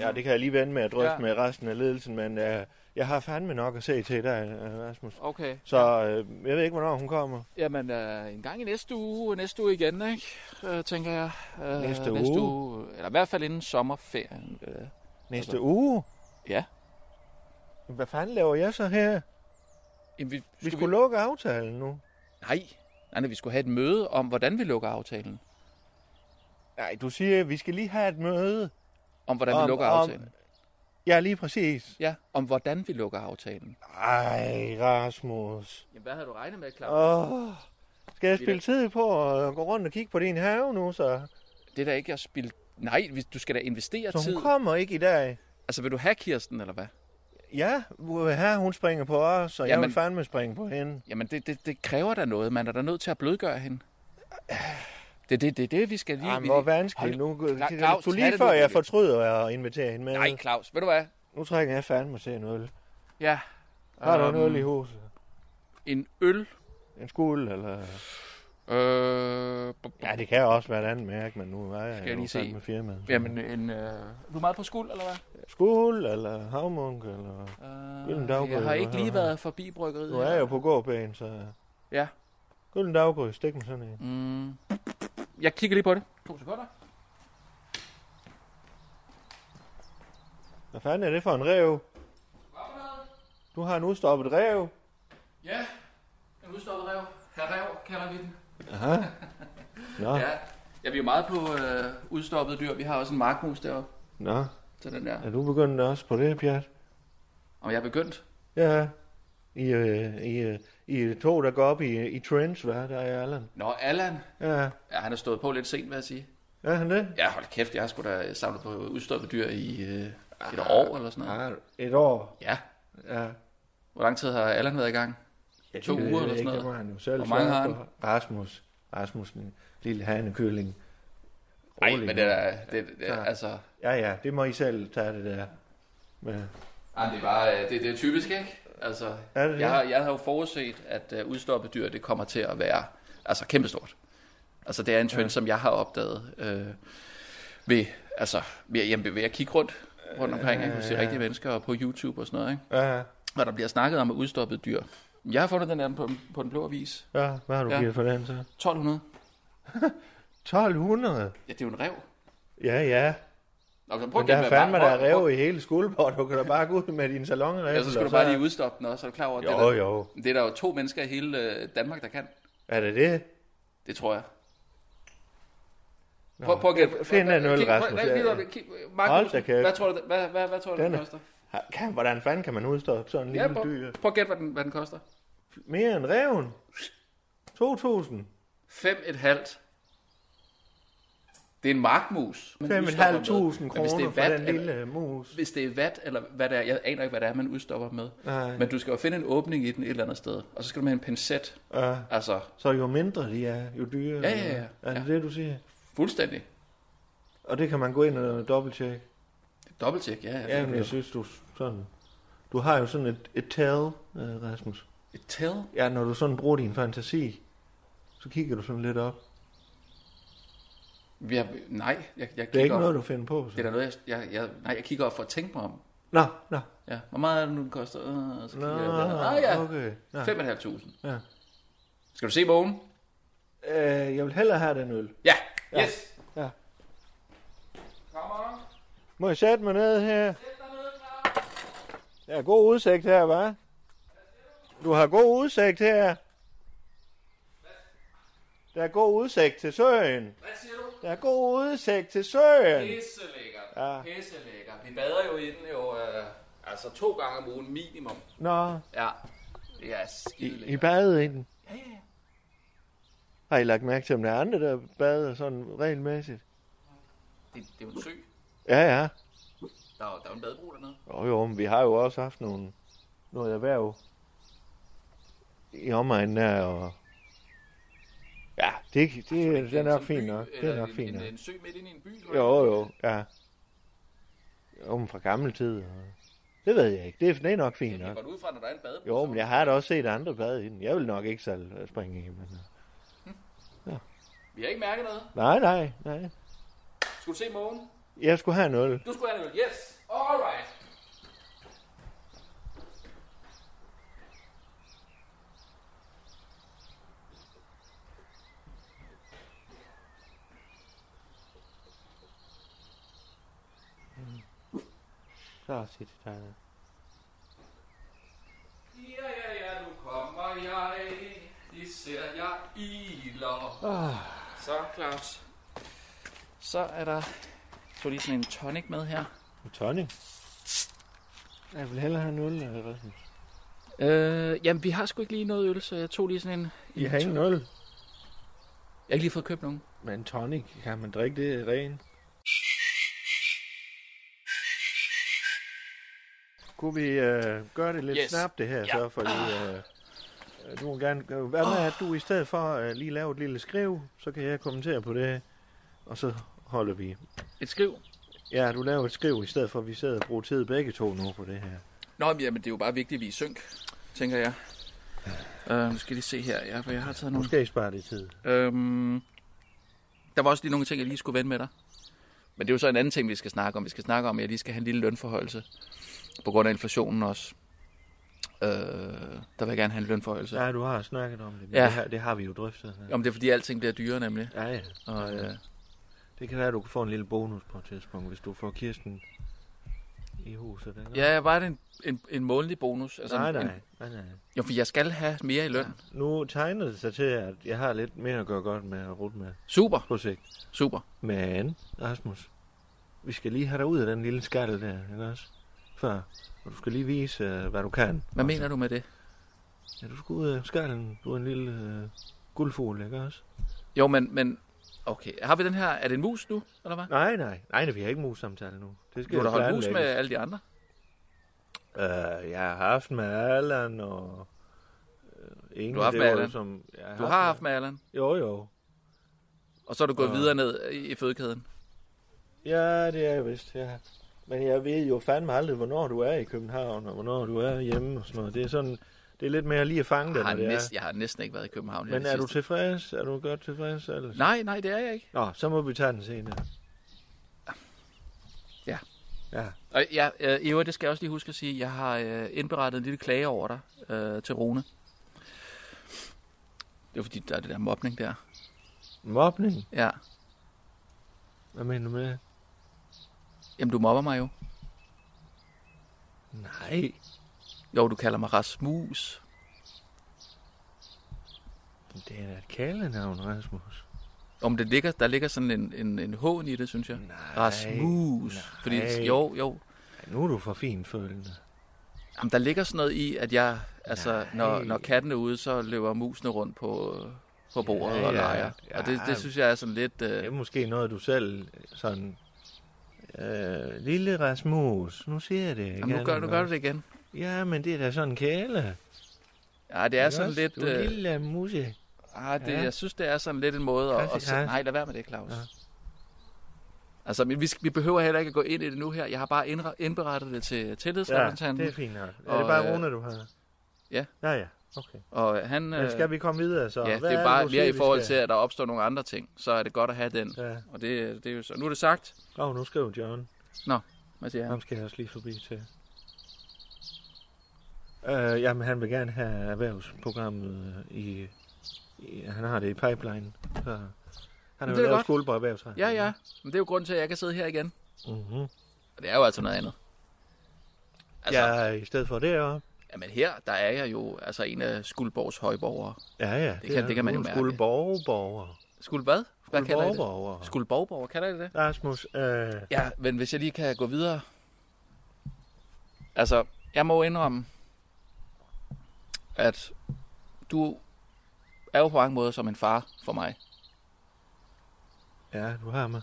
Ja, det kan jeg lige vende med at drøfte ja.
Ja.
med resten af ledelsen, men øh, jeg har fandme nok at se til dig, øh, Rasmus.
Okay,
Så øh, jeg ved ikke, hvornår hun kommer.
jamen øh, en gang i næste uge, næste uge igen, ikke? Øh, tænker jeg. Øh,
Næste uge?
næste uge? Eller i hvert fald inden sommerferien. Øh,
Næste
Altså-
uge?
Ja.
Hvad fanden laver jeg så her?
Jamen, vi,
Vi skulle vi... lukke aftalen nu.
Nej. Nej, nej, vi skulle have et møde om, hvordan vi lukker aftalen.
Nej, du siger, at vi skal lige have et møde.
Om, hvordan
Om-
vi lukker
om-
aftalen.
Ja, lige præcis.
Ja, om hvordan vi lukker aftalen.
Ej, Rasmus.
Jamen, hvad havde du regnet med, Claus?
Åh, skal jeg
Vi
spille tid på at gå rundt og kigge på din have nu, så,
Det er da ikke at spille... Nej, hvis- du skal da investere
så
tid.
hun kommer ikke i dag?
Altså, vil du have Kirsten, eller hvad?
Ja, her hun springer på os, og Jamen. jeg
Jamen-
vil fandme springe på hende.
Jamen, det, det, det kræver da noget. Man er da nødt til at blødgøre hende. Det er det, det, det, vi skal lige...
Jamen,
vi-
hvor vanskeligt. Nu,
Hold-
Kla-
Cla- Claus,
du
tag
lige
det
før
nu,
jeg
David.
fortryder at invitere hende med.
Nej, Claus, ved du hvad?
Nu trækker jeg fandme til en øl.
Ja.
Har du
Øhm,
en øl i huset?
En øl?
En skuld, eller...
Øh, b- b-
Ja, det kan også være et andet mærke, men nu er jeg,
Skal jeg
jo
lige se?
fandme firmaet.
Jamen, en... Øh... Du er meget på skuld, eller hvad?
Skål, eller havmunk, eller... Gylden daggry,
Øh, jeg har ikke
eller
lige
hvad?
været forbi bryggeriet.
Nu er jeg jo på gåpæn, så...
Ja.
Gylden daggry, stik mig sådan en.
Mm. Jeg kigger lige på det. To sekunder.
Hvad fanden er det for en rev? Du har en udstoppet rev.
Ja, en udstoppet rev. Herr Rev kalder vi den.
Nå, ja.
Ja, ja vi er meget på øh, udstoppede dyr. Vi har også en markmus deroppe
nå.
til den der.
Er du begyndt også på det, Pjat?
Og jeg er begyndt.
Ja. I, øh, I, øh, I er to, der går op i, i trends, hvad? Der er Allan.
Nå, Allan,
Ja,
ja, han er stået på lidt sent, vil jeg sige.
Er han det?
Ja, hold kæft, jeg har sgu da samlet på udstoppet dyr i øh, et år eller sådan noget.
Ah, et år.
Ja.
Ja.
Hvor lang tid har Allan været i gang?
Ja,
To uger eller sådan noget.
Hvor han jo selv
Hvor mange
sørger
har han?
for. Rasmus. Rasmus, den lille hanekylling.
Nej,
Rolig
men
nu.
det er, det, det,
klar.
altså,
Ja, ja, det må I selv tage det der. Men,
Ej, det er bare, øh, det, det er typisk, ikke? Altså,
Er det det?
jeg, har, jeg har jo forudset, at uh, udstoppet dyr, det kommer til at være altså, kæmpestort. Altså, det er en trend, ja. som jeg har opdaget øh, ved, altså, ved, at- jamen, ved at kigge rundt, rundt omkring, ikke? Hos de rigtige mennesker og på YouTube og sådan noget, ikke?
ja,
Hvor der bliver snakket om udstoppet dyr. Jeg har fundet den der på, på den blå avis.
ja, hvad har du
Ja.
ja. givet for den så?
1200.
1200?
Ja, det er jo en rev.
Ja, ja.
Nå, så prøv
Men der
at gætte,
er
hvad-
fandme, der
prøv-
er
prøv-
rev i hele skuldborg. Du kan da bare gå ud med din salon.
Ja, så skal du bare lige udstoppe den også. Er du klar over, at det,
Jo,
er der,
jo.
det er der jo to mennesker i hele øh, Danmark, der kan.
Er det det?
Det tror jeg. Prøv, prøv at gætte.
Find en øl,
Kig- prøv-
Rasmus.
nej, lige
Ja,
op.
ja.
Kig- Markus,
Hold da kæft.
Hvad tror du, hvad, hvad, hvad tror du den,
Den er-
koster?
Har- Kan, hvordan fanden kan man udstå sådan en
Ja,
lille
prøv,
dyr?
prøv at gætte, hvad den, hvad den koster.
Mere end reven? 2000?
5,5. Det er en markmus. man udstopper med.
5.500
Men hvis det er
kroner for den
vat eller-
lille mus.
Hvis det er vat, eller hvad det er, jeg aner ikke, hvad det er, man udstopper med.
Nej.
Men du skal jo finde en åbning i den et eller andet sted, og så skal du med en pincet.
Ja.
Altså,
Så jo mindre de er, jo dyrere.
Ja, ja, ja.
Er det det, du siger?
fuldstændig.
Og det kan man gå ind og dobbelttjekke.
Dobbelttjek, ja. ja,
Ja,
det
men
er
jeg synes, du sådan... Du har jo sådan et, et tal, øh, Rasmus.
Et tell?
Ja, når du sådan bruger din fantasi, så kigger du sådan lidt op.
Ja, nej, jeg, jeg kigger
Det er ikke
op.
noget, du finder på. Så.
Det er da noget, jeg, jeg, jeg, nej, jeg kigger op for at tænke mig om.
Nå, nå.
Ja, hvor meget er det nu, den koster? Øh, så
Nå,
kigger jeg der. ah, ja,
okay. Nå.
5.500.
Ja.
Skal du se bogen?
Øh, jeg vil hellere have den øl.
Ja, yes.
Ja.
Kom on.
Må jeg sætte mig ned her? Der er god udsigt her, hva'? Du har god udsigt her. Der er god udsigt til søen.
Hvad siger du?
Der er god udsigt til søen.
Pisselækkert.
Ja.
Pisselækkert. Vi bader jo i den jo, øh, altså to gange om ugen minimum.
Nå,
Ja. Det er skide
I, I
lækkert.
badede i den.
Ja, ja, ja.
Har I lagt mærke til, om der er andre, der bader sådan regelmæssigt?
Det, det er jo en sø.
Ja, ja.
Der er, jo- der er jo en badebro dernede.
Jo, jo, men vi har jo også haft nogle, noget erhverv i omegnen der, og... Ja, det, det, det, det er
en-
nok
Altså, en
fint
by,
nok. Det er
eller
nok
en-
fint
en,
nok.
en, sø midt inde i en by. eller
Jo,
hvad?
jo, ja. Jo, men fra gammel tid. Og... Det ved jeg ikke. Det er, det er nok
Det
fint
kan
nok.
godt ud fra, når der er en badebro.
Jo,
så-
men jeg har da også set andre bade i den. Jeg vil nok ikke selv øh, springe i, men...
Vi har ikke mærket noget.
Nej, nej, nej.
Skulle du se morgen?
Jeg skulle have en øl.
Du skulle have en øl. Yes. All right.
Så sig det der.
Ja, ja, ja, nu kommer jeg. Det ser jeg iler. Oh. Så, Claus. Så er der... Jeg tog lige sådan en tonic med her.
En tonic. Jeg vil hellere have en øl, eller hvad?
Øh, jamen, vi har sgu ikke lige noget øl, så jeg tog lige sådan en...
I har ingen øl.
Jeg har ikke lige fået købt nogen.
Men en tonic, kan man drikke det ren? Kunne vi øh, gøre det lidt
Yes.
yes. snap, det her, ja. så? Fordi øh, øh, du må gerne... øh, Hvad med, at du i stedet for øh, lige lave et lille skriv, så kan jeg kommentere på det, og så holder vi.
Et skriv.
Ja, du laver et skriv i stedet for, at vi sidder og bruger tid begge to nu på det her.
Nå, men jamen, det er jo bare vigtigt, at vi er i synk, tænker jeg. Øh, nu skal jeg lige se her, ja, for jeg har taget nogle...
Måske sparer det tid.
Øhm, der var også lige nogle ting, jeg lige skulle vende med dig. Men det er jo så en anden ting, vi skal snakke om. Vi skal snakke om, at jeg lige skal have en lille lønforhøjelse. På grund af inflationen også. Øh, der vil jeg gerne have en lønforhøjelse. Ja.
Ja, du har snakket om det, men
Ja.
ja. det, har, det har vi jo drøftet. Ja.
Om det er, fordi alting bliver dyrere nemlig.
Ja, ja.
Og, øh,
Det kan være, at du kan få en lille bonus på et tidspunkt, hvis du får Kirsten i huset. Eller?
ja, bare det en, en, en månedlig bonus. Altså
Nej,
en,
nej,
En,
nej, nej.
jo, for jeg skal have mere i løn. Ja.
Nu tegner det sig til, at jeg har lidt mere at gøre godt med at rute med
Super,
på sigt.
super.
Men, Rasmus, vi skal lige have dig ud af den lille skattel der, ikke også? Før. Og du skal lige vise, øh, hvad du kan.
Hvad mener du med det?
Ja, du skal ud af skallen. Du er en lille øh, guldfugl, ikke også?
Jo, men, men
Okay, har vi den her? Er det en mus nu, eller hvad?
Nej, nej. Nej, nej, vi har ikke mus-samtale nu. Det skal
Du har da holdt mus med
planlægges.
alle de andre.
Øh, jeg har haft med Allan og... Øh, Inge,
Du har haft
det
med
var jo
Allan?
Som, jeg
Du har haft med Allan,
Jo, jo.
og så er du gået videre ned i i fødekæden.
Ja, det er jeg vist, ja. Men jeg ved jo fandme aldrig, hvornår du er i København, og hvornår du er hjemme og sådan noget. Det er sådan... Det er lidt mere lige at fange
Jeg
det,
har,
når det
næsten,
er.
jeg har næsten ikke været i København. her
Men
det
er du
sidste.
tilfreds? Er du godt tilfreds? Eller?
Nej, nej, det er jeg ikke.
Nå, så må vi tage den senere.
Ja.
Ja.
Og jeg, øh, i øvrigt, det skal jeg også lige huske at sige, jeg har øh, indberettet en lille klage over dig øh, til Rune. Det var fordi, der er det der mobning der.
Mobning?
Ja.
Hvad mener du med det?
Jamen, du mobber mig jo.
Nej.
Jo, du kalder mig Rasmus.
Det er da et kælenavn, Rasmus.
Om det ligger, der ligger sådan en, en, en hån i det, synes jeg.
Nej,
Rasmus.
nej.
Fordi, jo, jo.
Ej, Nu er du for finfølende.
Jamen, der ligger sådan noget i, at jeg, altså,
Nej.
når, når katten er ude, så løber musene rundt på, øh, på bordet
Ja,
og
ja,
leger.
ja.
Og det, det synes jeg er sådan lidt... Øh,
Det er måske noget, du selv sådan... Øh, lille Rasmus, nu siger jeg det igen.
jamen, nu gør, nu gør du det igen.
Ja, men det er da sådan en kæle.
Ja, det er sådan lidt...
Du er
øh,
lille musse.
Ah, det, ja.
Ja.
jeg synes, det er sådan lidt en måde at...
Classic
at sætte-
Hans.
nej, lad være med det, Claus. Ja.
Ja.
Altså, men vi, skal- vi behøver heller ikke at gå ind i det nu her. Jeg har bare indre, indberettet det til
Ja, det
tillidsrepræsentanten,
er fint nok. Er
Og,
det bare
øh,
Rune, du har?
ja.
Ja, ja. Okay.
og han...
Men skal
øh,
vi komme videre så?
ja,
Hvad
det er
det,
bare
du
mere
siger,
i
vi
forhold til,
skal?
at der opstår nogle andre ting. Så er det godt at have den.
Ja.
Og det, det er jo så... Nu er det sagt.
Åh, oh, nu skrev John.
Hvad siger han?
Ham skal jeg også lige forbi til. Øh, jamen, han vil gerne have erhvervsprogrammet øh, i, i... Han har det i pipeline. Så han har
det
jo
er
lavet
godt.
skole på erhvervsret.
Ja, ja. Men det er jo grunden til, at jeg kan sidde her igen.
Mm-hmm.
Og det er jo altså noget andet.
Altså,
Altså, ja.
ja, i stedet for deroppe.
jamen her, der er jeg jo altså en af Skuldborgs højborgere.
Ja, ja.
kan- det kan man jo mærke.
Skulle borgerborger.
Skuld hvad? Hvad kalder I det?
Borgerborger.
Skuldborgborger, kalder I det det?
Rasmus, øh,
Ja, men hvis jeg lige kan gå videre. Altså, jeg må indrømme, at du er jo på mange måder som en far for mig.
ja, du har mig.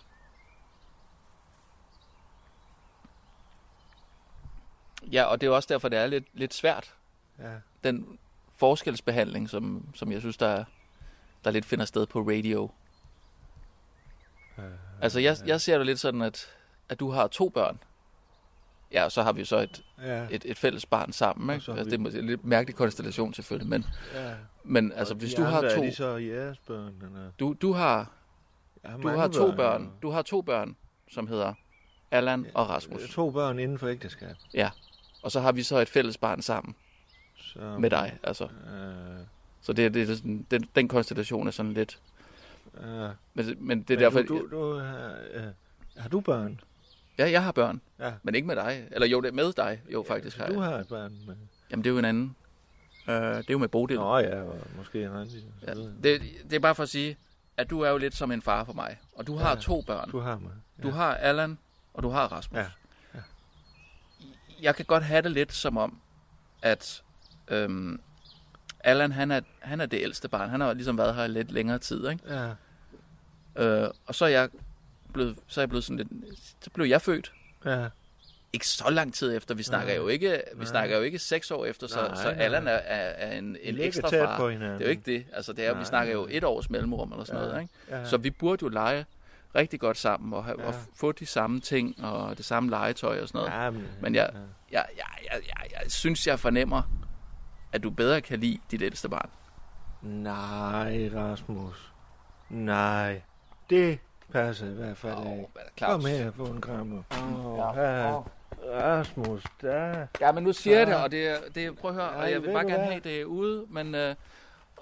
Ja, og det er jo også derfor, det er lidt, lidt svært.
Ja.
Den forskelsbehandling, som, som jeg synes, der, der lidt finder sted på radio.
Øh,
Altså, jeg, jeg ser det lidt sådan, at, at du har to børn. Ja, og så har vi jo så et,
Ja,
et, et fælles barn sammen.
Og
Ikke?
så har
Altså,
vi-
det er måske en lidt mærkelig konstellation selvfølgelig, men,
ja.
men altså,
Og
hvis
de
du har
andre,
to...
Er de så jeres børn? Eller?
Du, du har,
Jeg har
du
mange
har to børn,
jo.
Du har to børn, som hedder Allan og Rasmus.
To børn inden for ægteskab.
Ja. Og så har vi så et fælles barn sammen
Så,
med dig. Altså.
Øh,
Så det, det, er sådan, den, den konstellation er sådan lidt...
øh,
Men, men det er derfor...
Du, du, du har, øh, har du børn?
Ja, jeg har børn.
Ja.
Men ikke med dig. Eller jo, det er med dig. Jo, faktisk har
Du
jeg.
har et barn med.
Jamen, det er jo en anden. Øh, det er jo med Bodil.
Nå ja, og måske en anden.
Ja,
Ja.
det, det er bare for at sige, at du er jo lidt som en far for mig. Og du har ja. to børn.
Du har mig.
Du har Allan, og du har Rasmus.
Ja,
Jeg kan godt have det lidt som om, at øhm, Allan, han er, han er det ældste barn. Han har ligesom været her i lidt længere tid, ikke?
Ja,
Øh, og så er jeg blevet, så er jeg blevet sådan lidt, så blev jeg født.
ja.
Ikke så lang tid efter. Vi snakker jo ikke, vi snakker jo ikke seks år efter, så,
Nej,
så
nej.
Allan er, er, er en, en
ligger
ekstra
tæt
far.
på hinanden.
Det er jo ikke det. Altså, det er, jo, vi
Nej.
snakker jo et års mellemrum eller sådan
Ja,
noget, ikke?
ja.
Så vi burde jo lege rigtig godt sammen og, have, og
Ja.
få de samme ting og det samme legetøj og sådan noget.
ja men,
Men jeg, jeg, jeg, jeg, jeg, jeg synes, jeg fornemmer, at du bedre kan lide dit ældste barn.
Nej, Rasmus. Nej. Det passer i hvert fald
Åh,
ikke.
hvad er det, Claus?
Kom her og få en krammer. Åh, ja. Rasmus, der.
Ja, men nu siger jeg det, og det, er- det er- prøv at høre, og
Ej,
jeg vil
ved
bare
du
gerne
hvad?
have det ude, men... Øh,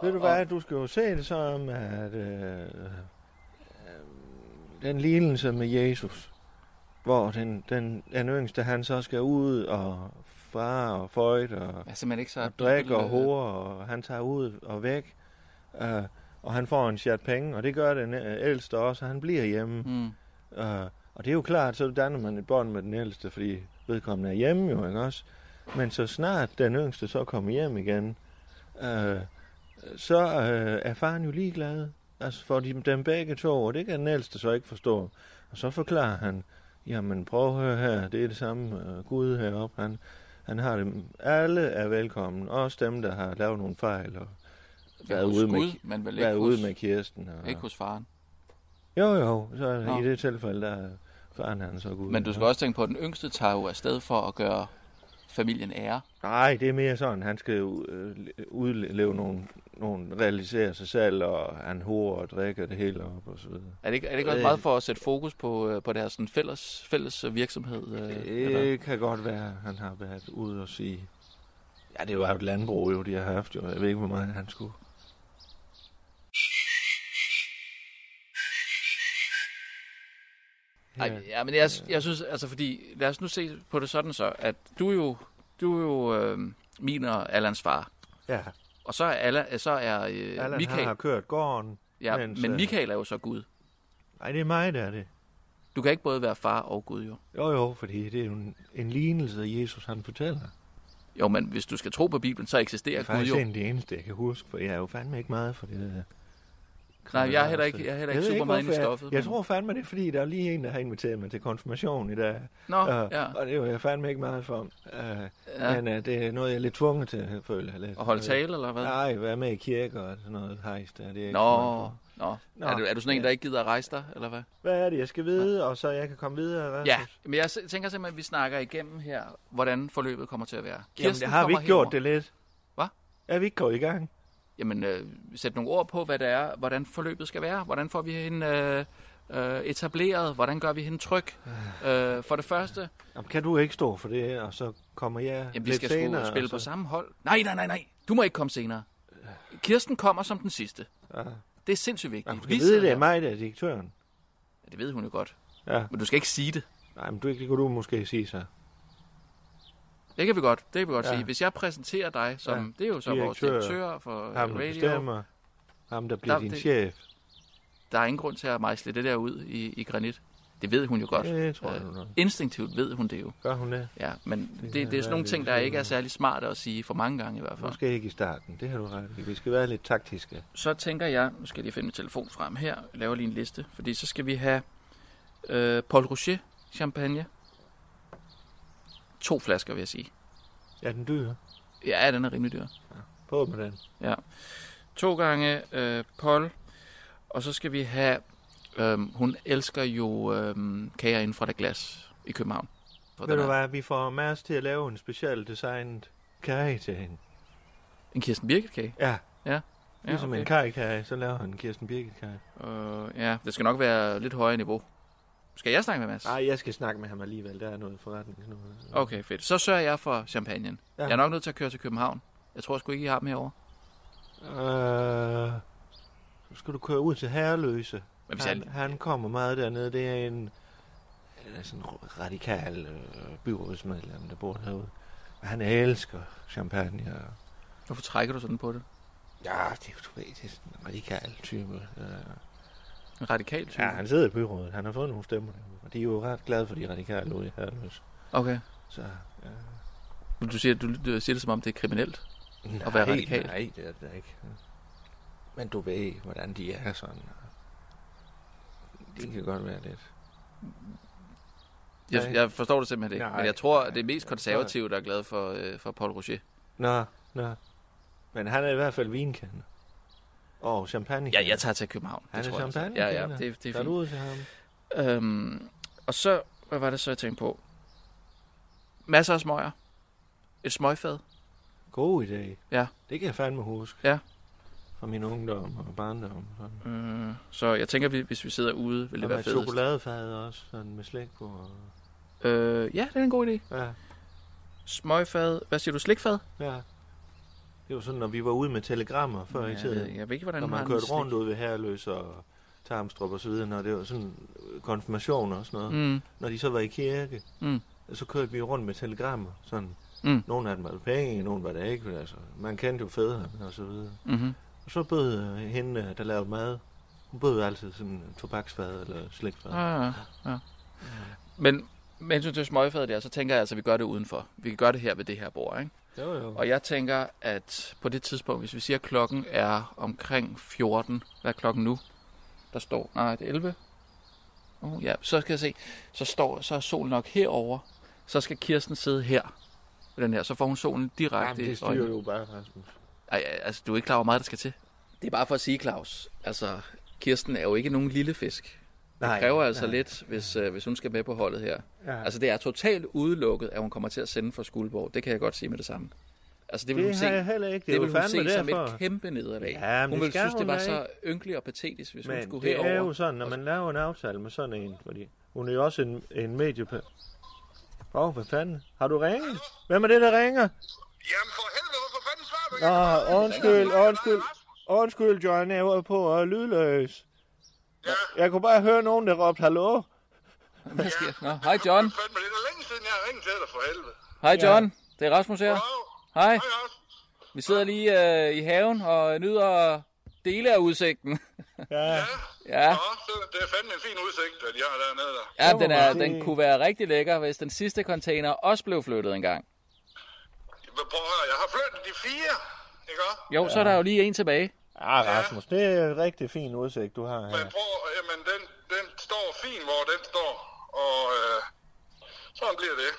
Ved du
og-
hvad, du skal jo se det som, at øh, øh, den lignelse med Jesus, hvor den, den, den yngste, han så skal ud og far og føjt og,
Jeg er simpelthen ikke så...
og drikke og
øh,
hore, og han tager ud og væk, øh, og han får en chat penge, og det gør den øh, ældste også, og han bliver hjemme.
Mm.
Øh, og det er jo klart, så danner man et bånd med den ældste, fordi vedkommende er hjemme jo, ikke også? Men så snart den yngste så kommer hjem igen, øh, så øh, er faren jo ligeglad. altså for de, dem begge to, og det kan den ældste så ikke forstå. Og så forklarer han, jamen prøv at høre her, det er det samme øh, Gud heroppe, han, han har dem, alle er velkommen, også dem, der har lavet nogle fejl, og været
hos
ude med,
Gud, men vel ikke
været ude
hos-
med Kirsten. Og,
Ikke hos faren.
Jo, jo, så
Nå.
i det tilfælde, der er faren han så Gud.
Men du skal også tænke på, at den yngste tager jo afsted for at gøre familien ære.
Nej, det er mere sådan, han skal jo øh, udleve nogle, nogle, realisere sig selv, og han horer og drikker det hele op og så videre.
Er det ikke, er det ikke også
Øh.
meget for at sætte fokus på, øh, på deres sådan fælles, fælles øh, virksomhed? Øh, eller?
Det kan godt være, at han har været ude og sige... Ja, det var jo et landbrug, jo, de har haft. Jo. Jeg ved ikke, hvor meget han skulle.
Ej, ja, men jeg, jeg synes, altså fordi, lad os nu se på det sådan så, at du er jo, du er jo øh, min og Allans far.
Ja,
Og så er, Alla, så er øh,
Allan Øh, Michael.
Michael,
har kørt gården.
ja,
mens,
men
øh,
Michael er jo så Gud.
Nej, det er mig, der er det.
Du kan ikke både være far og Gud, jo.
Jo, jo, fordi det er jo en, en lignelse, Jesus han fortæller.
Jo, men hvis du skal tro på Bibelen, så
Det
eksisterer
er
Gud
faktisk
jo.
en af de eneste, jeg kan huske, for jeg er jo fandme ikke meget for det øh, der.
Nej, jeg er heller ikke, jeg er heller ikke
ved
super meget inde i
hvorfor jeg-
stoffet.
Jeg
men-
tror fandme, det er fordi, der er lige en, der har inviteret mig til konfirmation i dag.
Nå,
Øh,
ja.
Og det var jeg fandme ikke meget for. Øh,
Ja.
Men øh, det er noget, jeg er lidt tvunget til, føler jeg lidt. Øh,
At holde tale, eller hvad?
Nej, være med i kirke og sådan noget hejs der. Det er ikke så meget
Nå,
for.
nå.
Nå,
Er, du, er du sådan en,
ja.
der ikke gider at rejse dig, eller hvad?
Hvad er det, jeg skal vide, og så jeg kan komme videre? Hvad?
Ja, men jeg s- tænker simpelthen, at vi snakker igennem her, hvordan forløbet kommer til at være.
Jamen,
Kirsten
det har vi
kommer
ikke gjort
herover.
det lidt?
Hvad?
Er vi ikke gået i gang?
Jamen, øh, sæt nogle ord på, hvad det er, hvordan forløbet skal være. Hvordan får vi hende øh, øh, etableret? Hvordan gør vi hende tryg? Øh, for det første,
Jamen, kan du ikke stå for det her, og så kommer jeg
jamen, vi
lidt
skal sgu
senere? altså.
spille
og
på
så...
samme hold. Nej, nej, nej, nej. Du må ikke komme senere. Kirsten kommer som den sidste.
Øh. Ja.
Det er sindssygt vigtigt.
Jamen, du skal
sidder
vide, det er
her.
mig, der er direktøren.
Ja, det ved hun jo godt.
Ja.
Men du skal ikke sige det.
Nej, men du, det kunne du måske sige så.
Det kan vi godt, det kan vi godt
Ja.
sige. Hvis jeg præsenterer dig som,
Ja.
det er jo så vores
Direktør.
direktør for øh,
Ham, der
radio,
bestemmer. Ham, der bliver
Der-
din
det-
chef.
der er ingen grund til at mejsle det der ud i, i granit. Det ved hun jo godt.
Det tror jeg
Øh,
nu nok.
Instinktivt ved hun det jo.
Gør hun det?
Ja, men det,
kan
det, er
være
sådan nogle
lidt
ting, der ikke er
besværligt.
særlig smarte at sige for mange gange i hvert fald.
Måske ikke i starten. Det har du ret i. Vi skal være lidt taktiske.
Så tænker jeg, nu skal jeg lige finde min telefon frem her, jeg laver lige en liste, fordi så skal vi have øh, Paul Rocher champagne. To flasker, vil jeg sige.
Er den dyr?
Ja, den er rimelig dyr.
På med den.
To gange øh, Paul, og så skal vi have, øh, hun elsker jo øh, kager inden fra der glas i København. For
Ved
den
du
er-
hvad, vi får Mads til at lave en speciel designet kage til hende.
En Kirsten Birgit-kage?
Ja,
Ja,
ligesom en kajkage, så laver han en Kirsten Birgit kage.
Øh, ja, det skal nok være lidt højere niveau. Skal jeg snakke med Mads?
Nej, jeg skal snakke med ham alligevel. Der er noget forretning. Noget.
Okay, fedt. Så sørger jeg for champagnen.
Ja.
Ja. Jeg er nok nødt til at køre til København. Jeg tror sgu ikke, I har dem herovre.
Øh, så skal du køre ud til Herreløse.
Men hvis
Han,
jeg...
han kommer meget dernede. Det er en, han er sådan en radikal øh, byrådsmedlem, der bor herude. Men Han elsker champagne og
Hvorfor trækker du sådan på det?
Ja, det er jo, du ved, det er sådan en radikal type. Øh,
En radikal type?
Ja, han sidder i byrådet. Han har fået nogle stemmer. Og de er jo ret glade for de radikale ude i Herløs.
Okay.
Så, ja.
Men Du siger, du, du siger det, som om det er kriminelt. At være radikal.
Nej, det er det da ikke. Men du ved, hvordan de er sådan. Det kan godt være lidt.
Jeg,
Nej.
jeg forstår det simpelthen ikke.
Nej.
Nej. Men jeg tror, det er mest konservative, der er glad for, øh, for Paul Rocher.
Nå, nå. Men han er i hvert fald vinkender. Og champagne.
Ja, jeg tager til København.
Han
det
er
tror jeg.
champagne.
altså. Ja, ja, det, det er
Tager du
fint.
ud til ham?
Øhm, og så, hvad var det så, jeg tænkte på? Masser af smøger. Et smøgfad.
God idé.
Ja.
Det kan jeg fandme huske.
Ja.
Fra min ungdom og barndom. Sådan.
Øh, så jeg tænker, vi- hvis vi sidder ude, vil det
Og
være
med
fedest.
chokoladefad også, sådan med slik på. Og...
Øh, ja, det er en god idé.
Ja,
Smøgfad. Hvad siger du? Slikfad?
ja. Det var sådan, når vi var ude med telegrammer før i
jeg, ved,
tiden.
jeg ved ikke, hvordan
Når man
har
kørte
den
rundt ud ved Herløs og Tarmstrup og så videre, når det var sådan øh, konfirmationer og sådan noget. Mm.
Mm.
Når de så var i kirke,
Mm.
så kørte vi rundt med telegrammer. Sådan.
Mm.
Nogle af dem var det penge, nogle var det ikke. men Altså, man kendte jo fædrene og så videre.
Mm-hmm.
Og så bød øh, hende, øh, der lavede mad, hun bød altid sådan en tobaksfad eller slikfad. Ja.
Ja, ja, Ah, ja. Men med hensyn til smøgfadet der, så tænker jeg altså, at vi gør det udenfor. Vi kan gøre det her ved det her bord, ikke?
Jo, jo.
Og jeg tænker, at på det tidspunkt, hvis vi siger, at klokken er omkring 14, hvad er klokken nu? der står, nej, det er 11. Uh, ja, så skal jeg se, så, står, så er solen nok herover. så skal Kirsten sidde her, ved den her, så får hun solen
Jamen,
direkte
det
i
styrer
øjnene.
jo bare, Rasmus.
Ej, ej, altså, du er ikke klar over, hvor meget der skal til. Det er bare for at sige, Claus, altså, Kirsten er jo ikke nogen lille fisk.
Nej,
Det kræver altså lidt, hvis, øh, hvis hun skal med på holdet her.
Ja.
Altså, det er totalt udelukket, at hun kommer til at sende for Skuldborg. Det kan jeg godt sige med det samme. Altså, det vil
Det
hun
har
se,
jeg heller ikke. Det er
det
jo
vil hun se
fandme
som
derfor.
et kæmpe nederlag.
Ja, men
hun
det
ville
skal
synes, det
hun
var
da
så ynkeligt og patetisk, hvis hun
Men
skulle
det
herover.
er jo sådan, når man laver en aftale med sådan en, fordi hun er jo også en, en mediepe... Åh, oh, hvad fanden? Har du ringet? Hvem er det, der ringer?
Jamen for helvede, hvorfor fanden svarer du
Nå, undskyld, undskyld. Undskyld, John, jeg var på at lydløs.
Ja,
Jeg kunne bare høre nogen, der råbte hallo.
(laughs) Hvad sker? der? Nå, hej John.
det er fandme lidt længe siden, jeg har ringet til dig for helvede.
Hej John. Det er Rasmus her.
Wow.
Hej.
Hej, Rasmus.
Vi sidder lige øh, i haven og nyder dele af udsigten. (laughs)
Ja,
ja.
Nå, så- det er fandme en fin udsigt, at jeg har dernede der.
Ja,
må
den,
man
er,
sige-
den kunne være rigtig lækker, hvis den sidste container også blev flyttet en gang.
Hvad prøv at høre, jeg har flyttet de fire, ikke også?
Jo, så er der jo lige en tilbage.
ah, Rasmus, det er en rigtig fin udsigt, du har
Men
her.
prøv, jamen den, den står fint, hvor den står, og øh, sådan bliver det.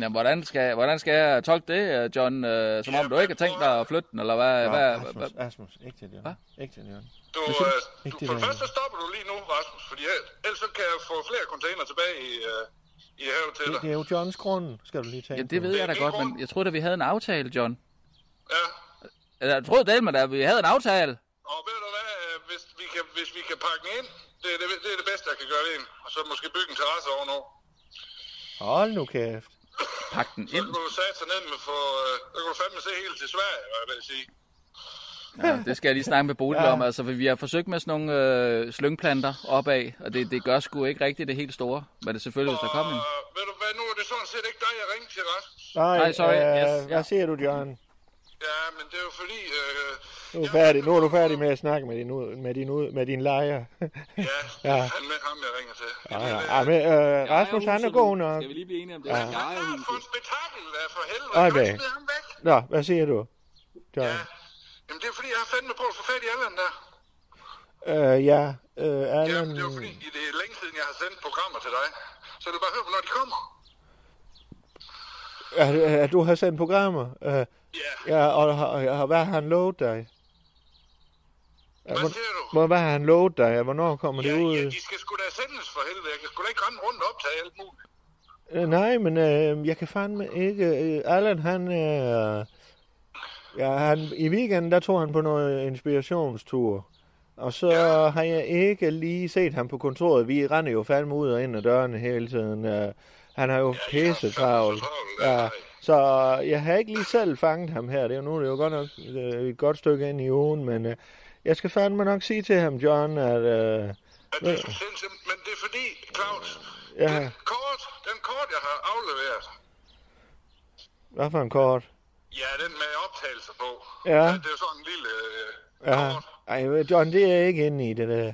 Jamen, hvordan skal, hvordan skal jeg tolke det, øh, John? Øh, som om du ikke har tænkt dig at flytte den, eller hvad?
Nå,
hvad, hvad?
Rasmus, Rasmus, ikke til Jørgen. Ikke til Jørgen.
Du,
synes
øh,
ikke,
du,
det
for
var-
det første så stopper du lige nu, Rasmus, fordi el- ellers så kan jeg få flere container tilbage i, øh, i havet til
Det,
dig.
det er jo Johns grund, skal du lige tænke
Ja, det ved
på.
jeg da godt, men jeg troede, at vi havde en aftale, John.
Ja,
Eller, Jeg troede det, men at vi havde en aftale.
og ved du hvad, øh, hvis vi kan, hvis vi kan pakke den ind, det er det, det er det bedste, jeg kan gøre ved en. Og så måske bygge en terrasse ovenover.
Hold nu kæft.
Pak den
Så
ind.
kan du satse ned med for, øh, der kan du fandme se helt til Sverige, hvad jeg vil sige.
Ja, det skal jeg lige snakke med Bodil
Ja.
om. Altså, for vi har forsøgt med sådan nogle øh, slyngplanter opad, og det, det gør sgu ikke rigtigt det helt store. Men det er selvfølgelig, hvis der kom en.
Og øh, ved du hvad, nu er det sådan set ikke dig, jeg ringte til, Rasmus.
Nej,
Nej, sorry,
øh,
yes, ja.
hvad siger du, Jørgen?
Ja, men det er jo fordi... Øh,
Nu er, du færdig. nu er du færdig med at snakke med din, ud, med din, ud, med din lejer.
Ja,
Ja.
ja. han med ham, jeg ringer til.
Ja, ja. ja, men, øh, Rasmus, han er god nok.
Skal vi lige blive enige om det?
Han er klart for en spektakel, der for helvede.
Ej,
Kan du
hvad?
ikke smide ham væk?
Nå, hvad siger du, John?
Ja. Jamen, det er fordi, jeg har fandme prøvet at få fat i Allan der.
Ja, øh, ja øh,
Ja,
Allan...
men det er jo fordi, i det er længe siden, jeg har sendt programmer til dig. Så du bare høre, hvornår de kommer.
At, at du har sendt programmer. Øh,
Ja,
ja, og, har- og, og hvad har han lovet dig? Ja,
hvad
hvor-
siger du?
hvor- Hvad har han lovet dig? Hvornår kommer
Ja,
det ud?
ja, de skal sgu da sendes for helvede. Jeg kan sgu da ikke rende rundt og optage alt muligt.
Øh, nej, men øh, jeg kan fandme ikke... Øh, Allan, han... Øh, ja, han, I weekenden, der tog han på noget inspirationstur. Og så ja. har jeg ikke lige set ham på kontoret. Vi render jo fandme ud og ind af dørene hele tiden. Øh, han har jo
de har
pisse travlt.
fandme så travlt,
Ja,
nej.
så jeg har ikke lige selv fanget ham her. Det er jo nu det er jo godt nok øh, et godt stykke ind i ugen, men øh, jeg skal fandme nok sige til ham, John, at... Øh,
At de skal sendes, men det er fordi, Claus, den
ja,
kort, den kort, jeg har afleveret,
hvad for en kort?
ja, den med optagelser på.
Ja.
Det er jo sådan en lille øh,
Ja.
kort.
Ej, John, det er jeg ikke inde i, det der.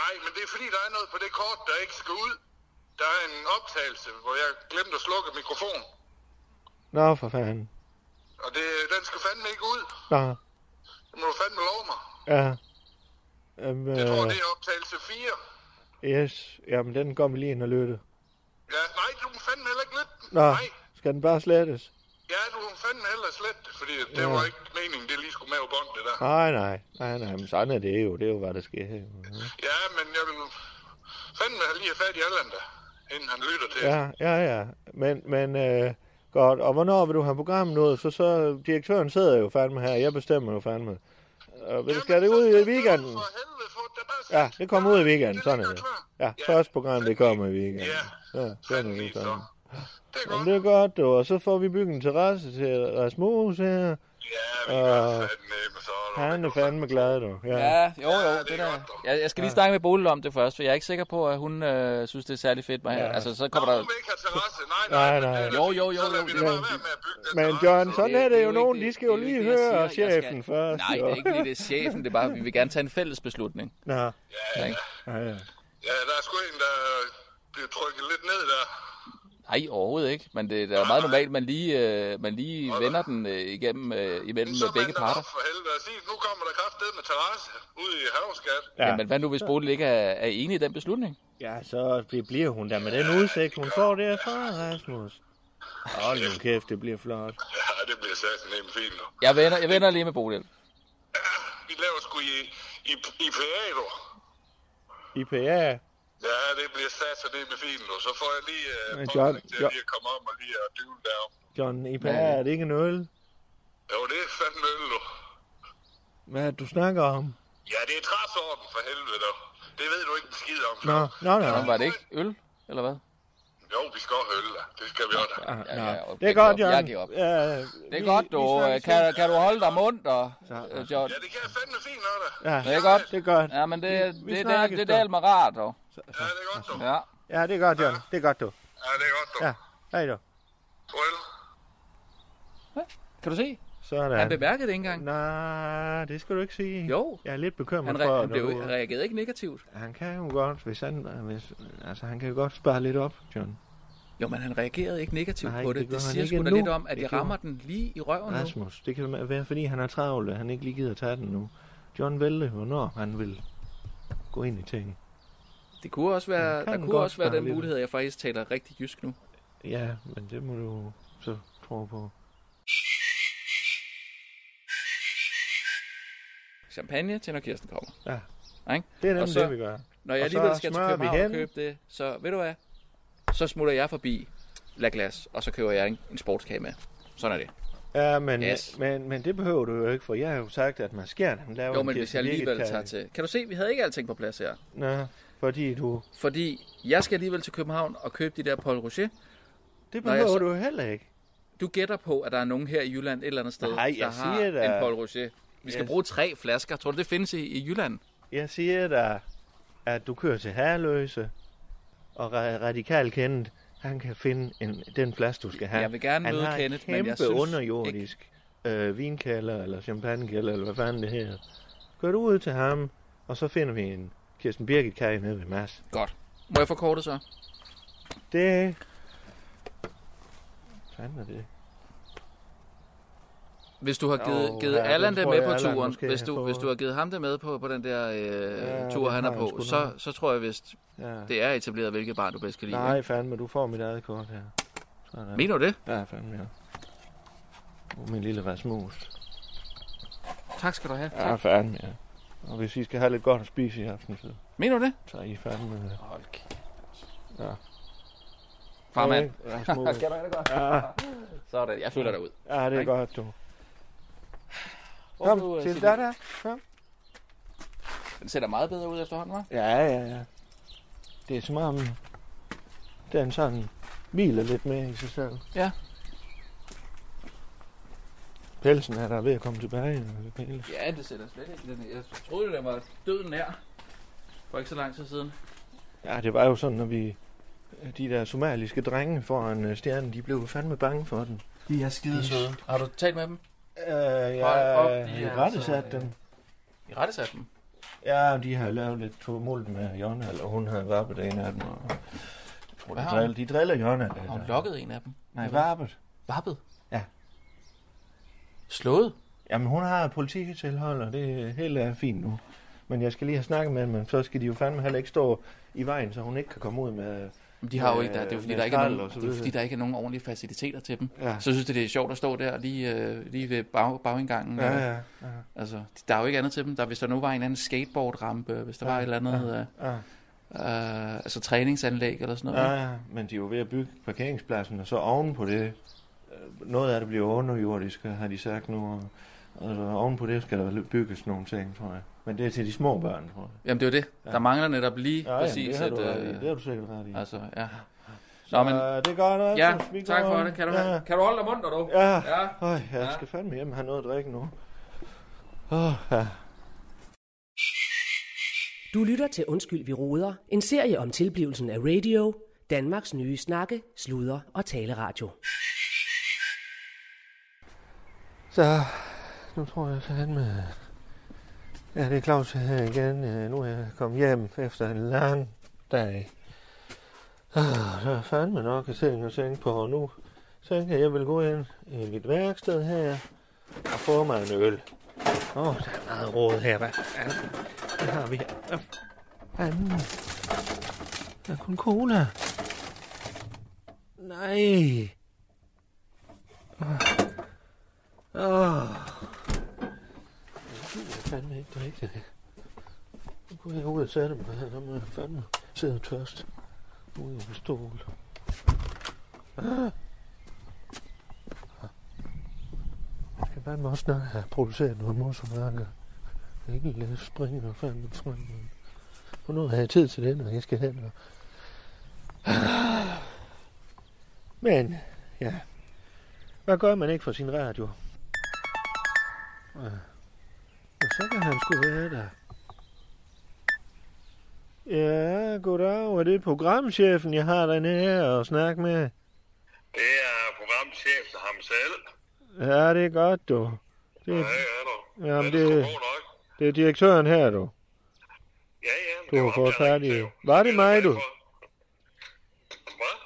Nej, men det er fordi, der er noget på det kort, der ikke skal ud. Der er en optagelse, hvor jeg glemte at slukke mikrofonen.
Nå, for fanden.
Og det, den skal fandme ikke ud.
Nå,
Det må du fandme love mig.
ja. Øhm, øh,
Jeg tror, det er optagelse 4.
yes, jamen den går vi lige ind og lytte.
Ja, nej, du må fandme heller ikke lytte. den.
Nå,
Nej,
skal den bare slettes?
ja, du må fandme heller slet det, fordi det
Ja.
var ikke meningen, det lige skulle med på bånd, det der.
Nej, nej, nej, nej, men sådan er det jo. Det er jo, hvad der sker. her.
Ja, men jeg vil fandme have lige have fat i Allan der, inden han lytter til.
Ja, ja, ja. Men, men øh, godt. Og hvornår vil du have programmet ud? Så, så direktøren sidder jo fandme her. Jeg bestemmer jo fandme. Og vil,
Jamen,
skal det
så
ud
skal
i weekenden?
For helvede, for det er bare
Ja, det kommer ud i weekenden.
ligger
Sådan er det.
klar.
Ja, første program, det kommer i weekenden. Ja,
Ja.
sådan er
Fandme
det.
så.
Sådan.
Det er
Jamen,
godt.
det er godt, du. Og så får vi bygget en terrasse til Rasmus her.
Ja, vi
Øh,
gør fandme så. er der
Han er
rigtig godt.
fandme glad, du. Ja.
Ja,
Ja,
jo, jo,
det er
det, det der.
godt, dog.
Jeg, jeg skal lige snakke med Bodil om det først, for jeg er ikke sikker på, at hun øh, synes, det er særlig fedt med her. Altså, så kommer
Nå,
der...
hun vil ikke have terrasse. Nej,
Nej,
nej. men
nej.
det er da
Jo,
fint.
jo, jo,
Så lader
jo,
vi det
jo.
bare være med at bygge den
Men
terrasse.
John, sådan er det jo
ikke
nogen,
det-
de skal
det
jo
er
lige
ikke det, jeg
høre
siger. Jeg
chefen først.
Nej, det
jo.
er ikke fordi, det er chefen. Det er bare, at vi vil gerne tage en fælles beslutning.
Nå,
Ja,
Ja,
ja.
ikke?
ja, ja.
ja, der er sgu en, der bliver trykket lidt ned der.
Nej, overhovedet ikke. Men det, det er da meget normalt, man lige, øh, man lige vender den øh, igennem øh, imellem
så
øh, begge
man
parter.
op for helvede og sige, nu kommer der kraftedet med terrasse ude i havskat.
Ja. Jamen, hvad nu, hvis Bodil ikke er, er enig i den beslutning?
Ja, så bl- bliver hun der med den udsigt, hun får derfra, Rasmus. Hold nu kæft, det bliver flot.
Ja, det bliver sagt nemt fint nu.
Jeg vender, jeg vender lige med Bodil.
Vi laver sgu i, i, i PA, du.
IPA.
Ja, det bliver sat så det med fint nu. Så får jeg lige øh,
Men John-
pålæg til at
John-
lige at komme om og lige at dyvle derom.
John, IPA, er det ikke en øl?
Jo, det er fandme øl, du.
Hvad er det, du snakker om?
Ja, det er træsorden for helvede, du. Det ved du ikke en skid om.
Nå, nå, nå.
Jamen, var det ikke øl, eller hvad?
Jo, vi skal også øl, da. Det skal vi også. da.
Ah,
Ja,
nå.
ja, okay,
det er
jeg
godt,
giver op.
John.
Jeg giver op.
Øh,
Det er
vi-
godt,
vi
du.
snakkes
øh, Kan,
ved.
kan du holde dig mundt, og, øh, John?
Ja, det kan jeg fandme fint, nu, da.
Ja,
Det er godt.
det er godt.
Ja, men det, det,
vi
det, det,
snakkes
det
da.
er delt mig rart, dog.
Ja, det er godt, du.
Ja.
Ja, det er godt, John. Det er godt, du.
Ja, det er godt, du.
Ja, hej du.
Well.
Kan du se? Han
Sådan.
bemærkede det ikke engang.
Nej, det skal du ikke sige.
Jo.
Jeg er lidt bekymret
Han,
for,
re-
at
han, blev,
du-
han reagerede ikke negativt.
Han kan jo godt, hvis han... Hvis, altså, han kan jo godt spare lidt op, John.
Jo, men han reagerede ikke negativt
Nej,
på
det
det. Det,
gjorde han
siger
ikke
sgu da
endnu.
lidt om, at
Det
jeg
gjorde-
rammer den lige i røven nu.
Rasmus, det kan være, fordi han er travl, og han ikke lige gider tage den nu. John vælger, hvornår han vil gå ind i ting.
Det kunne også
Ja,
være,
kan
der
den
kunne
godt
også være
spare
den
lidt.
mulighed, at jeg faktisk taler rigtig jysk nu.
Ja, men det må du så tro på.
Champagne til, når Kirsten kommer.
Ja.
Ikke?
Det er
Og
nemlig
så-
det, vi gør.
Når jeg
Og så
alligevel skal til
smører vi
København og
hen.
købe det, så ved du hvad? Så smutter jeg forbi La Glas, og så køber jeg en, en sportskage med. Sådan er det.
Ja, men,
Yes.
yes. men, men det behøver du jo ikke, for jeg har jo sagt, at man skærer dem.
Jo, men hvis jeg alligevel tager til... Kan du se, vi havde ikke alting på plads her.
Nå, fordi du...
Fordi jeg skal alligevel til København og købe de der Paul Rocher.
Det
Nå, jeg
behøver
så-
du jo heller ikke.
Du gætter på, at der er nogen her i Jylland et eller andet sted,
Nej, jeg
der har
siger da-
en Paul Rocher. Vi skal
Yes.
bruge tre flasker. Tror du, det findes i, i Jylland?
Jeg siger dig, at du kører til Herløse, og ra- radikal kendt, han kan finde en, den plads, du skal have.
Jeg vil gerne
han
møde
har
Kenneth,
en
men jeg
kæmpe
synes
underjordisk øh, vinkælder, eller champagnekælder, eller hvad fanden det hedder. Kør du ud til ham, og så finder vi en Kirsten Birgit Kaj nede ved Mads.
Godt. Må jeg forkorte så?
Det... Fanden er det?
Hvis du har givet,
Åh,
givet
ja, den
Allan det
tror
med
jeg,
på
Allan
turen,
måske
hvis
har
du,
fået.
hvis du har givet ham det med på, på den der øh,
Ja,
tur,
det
han
har
er
han
på,
sgu
så,
nok.
så tror jeg, hvis
Ja.
det er etableret, hvilket barn du bedst kan lide.
Nej, fandme, du får mit eget kort her. Sådan.
ikke? Mener du det?
Ja, fandme, ja. Oh, min lille vasmus.
Tak skal du have.
Ja,
Tak.
fanden, ja. Og hvis I skal have lidt godt at spise i aften, så
Mener du det?
tager I fandme... øh,
Hold kæft.
Ja.
Farmand.
ikke? Rasmus.
(laughs) Skal du have det godt?
ja,
Sådan, jeg følger dig ud.
ja, det er
Hej.
godt, du.
Hvor er du,
Kom,
øh,
til
Silje?
der, der. Kom.
Den ser da meget bedre ud efterhånden, hva'?
Ja, ja, ja. Det er som om, den sådan hviler lidt mere i sig selv.
Ja.
Pelsen er der ved at komme tilbage. øh, Pelle.
Ja, det ser da slet ikke. Den, jeg troede, den var døden nær. For ikke så lang tid siden.
Ja, det var jo sådan, når vi... De der somaliske drenge foran øh, stjernen, de blev fandme bange for den.
De er skide søde. Har du talt med dem?
Øh, jeg
op, de er
har
altså,
rettesat
øh,
dem.
I rettesat dem.
Ja, de har lavet lidt tumult med Jonna, eller hun har varpet en af dem. Og jeg tror, de,
Hvad har hun?
driller, de driller Jonna.
Har hun
Eller,
lokket en af dem?
nej, varpet.
Vappet?
Ja.
Slået?
Jamen, hun har polititilhold, og det er helt er fint nu. Men jeg skal lige have snakket med dem, men så skal de jo fandme heller ikke stå i vejen, så hun ikke kan komme ud med...
Men de har jo
Øh,
ikke, der, det er jo fordi,
med
der ikke er
skrald
nogen,
og så
det er jo
videre.
fordi, der ikke er nogen ordentlige faciliteter til dem.
Ja.
Så synes jeg, det er sjovt at stå der lige, øh, lige ved bag, bagindgangen.
Ja,
øh.
ja, ja.
Altså, der er jo ikke andet til dem. Der, hvis der nu var en eller anden skateboardrampe, hvis der var et eller andet
ja.
øh, øh, altså træningsanlæg eller sådan noget.
Ja, ja, men de er jo ved at bygge parkeringspladsen, og så oven på det, øh, noget af det bliver underjordisk, har de sagt nu, og, og så oven på det skal der bygges nogle ting, tror jeg. Men det er til de små børn, tror jeg.
Jamen det er jo det. Der mangler netop lige
Ja,
præcis
præcis, det, har du,
et... øh,
ret i. det har du sikkert ret i.
altså, ja.
Mm. Så,
Nå, men,
øh, det gør noget.
ja, tak for det. Kan du,
ja.
kan du holde dig mundt, du?
Ja.
ja.
Øj, jeg
Ja.
skal fandme hjem og have noget at drikke nu. Åh, ja.
Du lytter til Undskyld, vi roder. En serie om tilblivelsen af radio. Danmarks nye snakke, sludre og taleradio.
Så, nu tror jeg fandme... Ja, det er Claus her igen. Øh, Nu er jeg kommet hjem efter en lang dag. Ah, der er fandme nok af ting at tænke på, og nu tænker jeg, jeg vil gå ind i mit værksted her og få mig en øl. Åh, oh, der er meget råd her. Hvad fanden? Hvad har vi her? Hvad fanden? Der er kun cola. Nej. Åh. Oh. Jeg gider fandme ikke drikke det her. Nu går jeg ud og sætter mig her. Nu må jeg fandme sidde tørst. Ude på stol. Ah. Jeg skal fandme også snart have produceret noget motorværker. Ikke lade springe og fandme frem. Og nu har jeg tid til det, når jeg skal hen. Og... Ah. Men, ja. Hvad gør man ikke for sin radio? Ah. Og så kan han sgu være der. Ja, goddag. Er det programchefen, jeg har den her og snakke med?
Det er programchefen ham selv.
Ja, det er godt, du. Det er,
Ja, ja, du.
Jamen,
Den er sgu
det-
god nok.
det er direktøren her, du.
Ja, ja. men
Du
det
har
var
fået
ham, der
fat i-
ringte til.
Var det mig, du?
Hvad?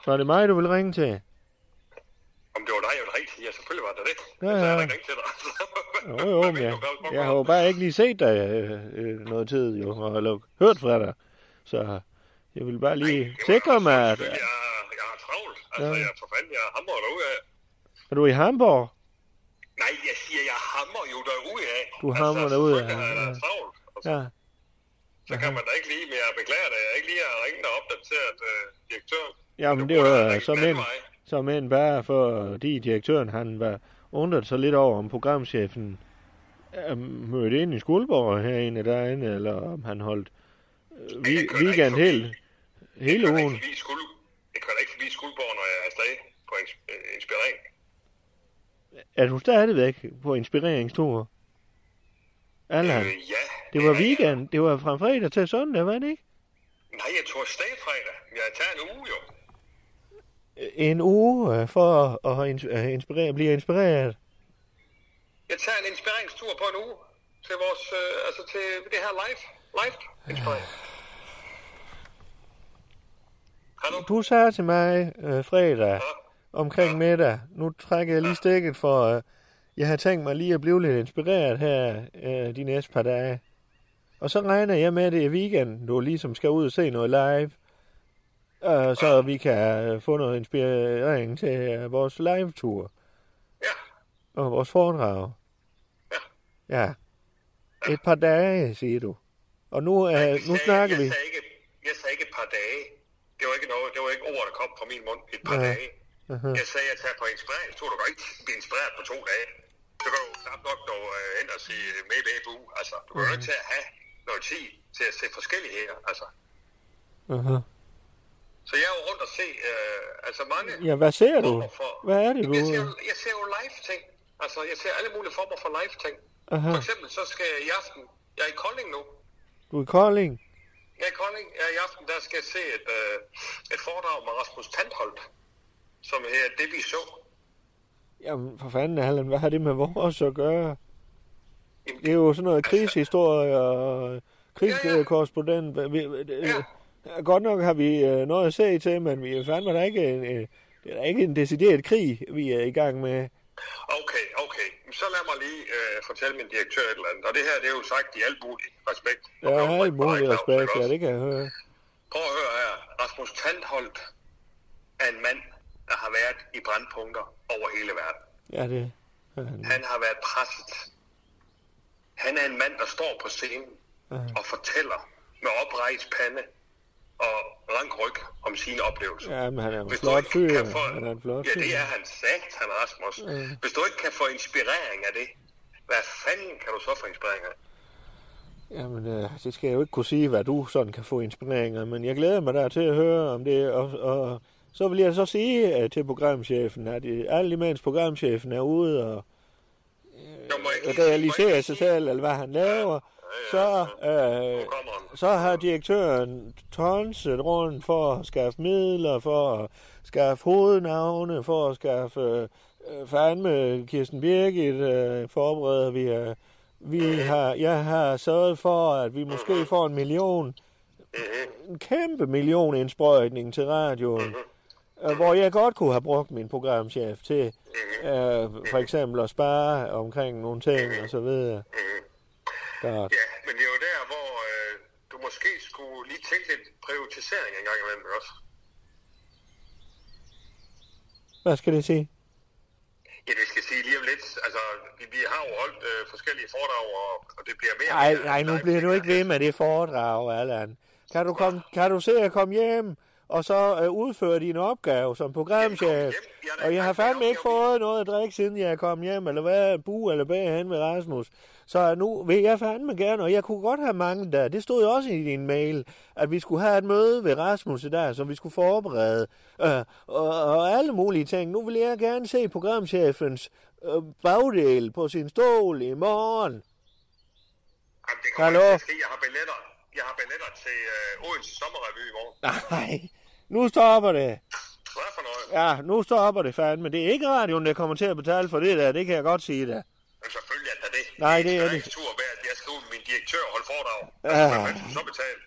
Så er det mig, du vil ringe til?
Om det var dig, jeg ville ringe til? Ja, selvfølgelig var det Altså, det.
Ja,
Så er
ja.
der ringe til dig.
Jo,
(laughs)
jo, men jeg, jeg har jo bare ikke lige set dig øh, øh, noget tid, jo, og eller hørt fra dig. Så jeg vil bare lige sikre mig, at...
Jeg, jeg har travlt. Altså,
Ja.
jeg, for fanden, jeg hamrer derude af.
Er du i Hamburg?
Nej, jeg siger, jeg hamrer jo derude af.
Du hamrer derudad,
selvfølgelig har
ja.
Jeg har travlt. Og så,
Ja.
så kan man da ikke lige, men jeg beklager det. Jeg ikke lige har ringet og opdateret øh, direktøren.
Jamen,
Du
det
burde
var
have
øh,
ringet
som
den
en,
vej.
som en bare fordi direktøren, han var undret sig lidt over, om programchefen øh, mødte ind i Skuldborg herinde derinde, eller om han holdt øh,
jeg
vi,
kører
weekend
ikke forbi.
hele, hele
Jeg kører da
ugen.
ikke forbi skuld. Jeg kører da ikke forbi Skuldborg, når jeg er afsted på ins- øh, inspirering.
Er du stadigvæk på inspireringstur? Allan,
Øh, ja.
det var
er jeg.
weekend. Det var fra fredag til søndag, var det ikke?
Nej, jeg tog afsted fredag. Jeg tager en uge jo.
En uge øh, for at ins- øh, inspirere, blive inspireret.
Jeg tager en inspireringstur på en uge til vores, øh, altså til det her live, live inspirering. Hallo?
Du sagde til mig øh, fredag omkring middag. Nu trækker jeg lige stikket for... Øh, jeg har tænkt mig lige at blive lidt inspireret her øh, de næste par dage. Og så regner jeg med, at det er weekenden, du ligesom skal ud og se noget live. Øh, så vi kan øh, få noget inspirering til øh, vores live-tur.
Ja,
Og vores foredrag.
Ja.
Ja. Et par dage, siger du. Og nu, øh,
jeg
nu
sagde-
snakker vi.
Jeg sagde, ikke, jeg sagde ikke et par dage. Det var ikke noget, det var ikke ord, der kom fra min mund. Et par
Ja.
dage.
Aha.
Jeg sagde, at jeg tager på inspireringstur. Du kan ikke blive inspireret på to dage. Så kan du knap nok nå øh, hen og sige øh, med babu. Altså, du
Mhm.
er nødt til at have noget tid til at se forskellige her. Altså.
Aha.
Så jeg er jo rundt og se øh, altså mange
Ja, hvad ser du?
former for...
Hvad er det, du...
Jamen, Jeg ser, jo- jeg ser jo live-ting. Altså, jeg ser alle mulige former for live-ting.
Aha.
For eksempel, så skal jeg i aften... Jeg er i Kolding nu.
Du er i Kolding?
Jeg er i Kolding. Jeg er i aften, der skal jeg se et, øh, et foredrag med Rasmus Tandholt, som hedder Det, vi så.
Jamen, for fanden, Allan, hvad har det med vores at gøre?
Jamen,
Det er jo sådan noget krigshistorie og
Ja, ja.
krigskorrespondent. Ja, ja.
Ja.
Godt nok har vi øh, noget at se til, men vi er fandme der ikke en, øh, det er da ikke en decideret krig, vi er i gang med.
Okay, okay. Så lad mig lige øh, fortælle min direktør et eller andet. Og det her, det er jo sagt i alt muligt respekt.
Der er alt muligt respekt, ja, det kan jeg høre.
Prøv at høre her. Rasmus Tandholt er en mand, der har været i brandpunkter over hele verden.
Ja, det er han.
Han har været presset. Han er en mand, der står på scenen og fortæller med oprejst pande og rank ryg om sine oplevelser.
Ja, men han er jo en
Hvis du
flot
ikke
fyr.
kan få-
Han er en flot
Ja,
fyr.
det er han sagt, han Rasmus.
Ja.
Hvis du ikke kan få inspirering af det, hvad fanden kan du så få inspirering af?
Jamen, øh, det skal jeg jo ikke kunne sige, hvad du sådan kan få inspireringer, men jeg glæder mig der til at høre om det, og, og så vil jeg så sige øh, til programchefen, at øh, alt imens programchefen er ude og øh,
Jo, må jeg ikke lige sige- må jeg ikke
realiserer
lige
sig
sige-
selv, eller hvad han laver, så, øh,
Nu kommer han.
så har direktøren tonset rundt for at skaffe midler, for at skaffe hovednavne, for at skaffe øh, fandme Kirsten Birgit, øh, forbereder vi. Øh, vi har, jeg har sørget for, at vi måske får en million en kæmpe millionindsprøjtning til radioen, øh, hvor jeg godt kunne have brugt min programchef til øh, for eksempel at spare omkring nogle ting og så videre. Godt.
Mhm. Ja, men det er jo der, hvor øh, du måske skulle lige tænke lidt prioritisering en gang imellem også.
Hvad skal det sige?
Ja, det skal jeg sige lige om lidt. Altså, vi, vi har jo holdt øh, forskellige foredrag, og, og det bliver mere... og
Nej,
mere
nej, nu
live-
bliver du ikke ved med det foredrag, Allan. Kan du, komme, kan du se at komme hjem og så øh, udføre din opgave som programchef? Og jeg har fandme ikke fået noget at drikke, siden jeg er kommet hjem, eller hvad, bu eller bag hen med Rasmus. Så nu vil jeg fandme gerne, og jeg kunne godt have manglet der. Det stod jo også i din mail, at vi skulle have et møde ved Rasmus i dag, som vi skulle forberede, øh, og, og alle mulige ting. Nu vil jeg gerne se programchefens øh, bagdel på sin stol i morgen.
Jamen, det kommer
Hallo?
ikke til at ske. Jeg har billetter. Jeg har billetter til øh, Odense Sommerrevy i morgen.
Nej, nu stopper det.
Hvad for noget? Ja.
Ja, nu stopper det fandme. Det er ikke radioen, der kommer til at betale for det der. Det kan jeg godt sige det.
Selvfølgelig er der det.
Nej, det er det.
ikke. tur værd, at jeg skal ud med min direktør og holde foredrag.
Ja.
Altså, hvad fanden skulle så betale?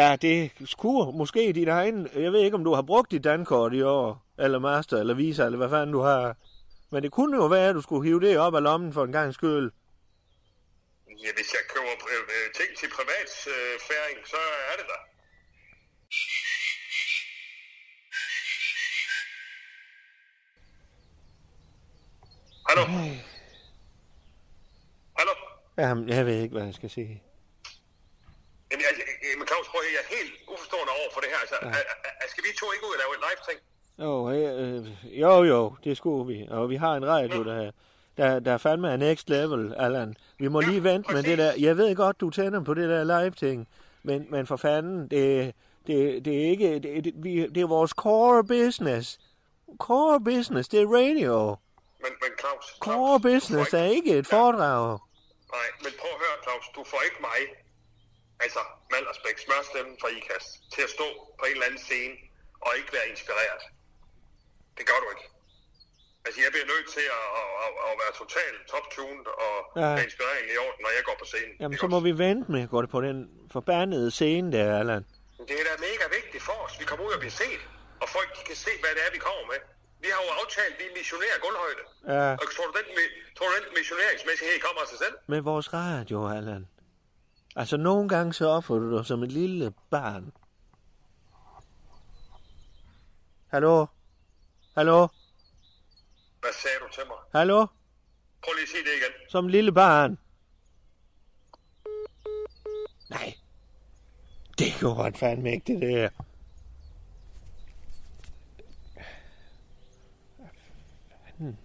Ja, det skulle måske din egen... Jeg ved ikke, om du har brugt dit dankort i år, eller master, eller visa, eller hvad fanden du har. Men det kunne jo være, at du skulle hive det op af lommen for en gang skyld.
Ja, hvis jeg køber øh, øh, ting til privat øh, færing, så er det der. Hallo? Hallo?
Jamen, jeg ved ikke, hvad jeg skal sige.
Jamen, jeg, jeg, men Claus, prøv at høre, jeg er helt uforstående over for det her. Altså, ja. skal vi to ikke ud og lave et live-ting?
Jo, øh, jo, jo, det skulle vi. Og vi har en radio, der, der, der fandme er next level, Allan. Vi må
Ja,
lige vente med det der. Jeg ved godt, du tænder på det der live-ting, men, men for fanden, det, det, det er ikke... Det, det, vi, det er vores core business. Core business, det er radio.
Men, men Claus...
Core
Claus, du får
business
ikke-
er ikke et
Ja,
foredrag.
Nej, men prøv at høre, Claus, du får ikke mig, altså Maldersbæk, smørstemmen fra IKAST, til at stå på en eller anden scene og ikke være inspireret. Det gør du ikke. Altså, jeg bliver nødt til at, at, at, at være totalt top-tuned og
Ja.
ja. være inspireringen i orden, når jeg går på scenen.
Jamen,
ikke
så må
også?
vi vente med at gå på den forbandede scene der, Allan.
Det er da mega vigtigt for os. Vi kommer ud og bliver set, og folk de kan se, hvad det er, vi kommer med. Vi har jo aftalt, at vi missionerer gulvhøjde.
Ja.
Og tror du, den, mi- tror du, den missioneringsmæssighed kommer af sig selv?
med vores radio, Allan. Altså, nogle gange så opfører du dig som et lille barn. Hallo? Hallo?
Hvad sagde du til mig?
Hallo?
Prøv lige at sige det igen.
Som et lille barn. Nej. Det går godt fandme ikke, det der. Fanden.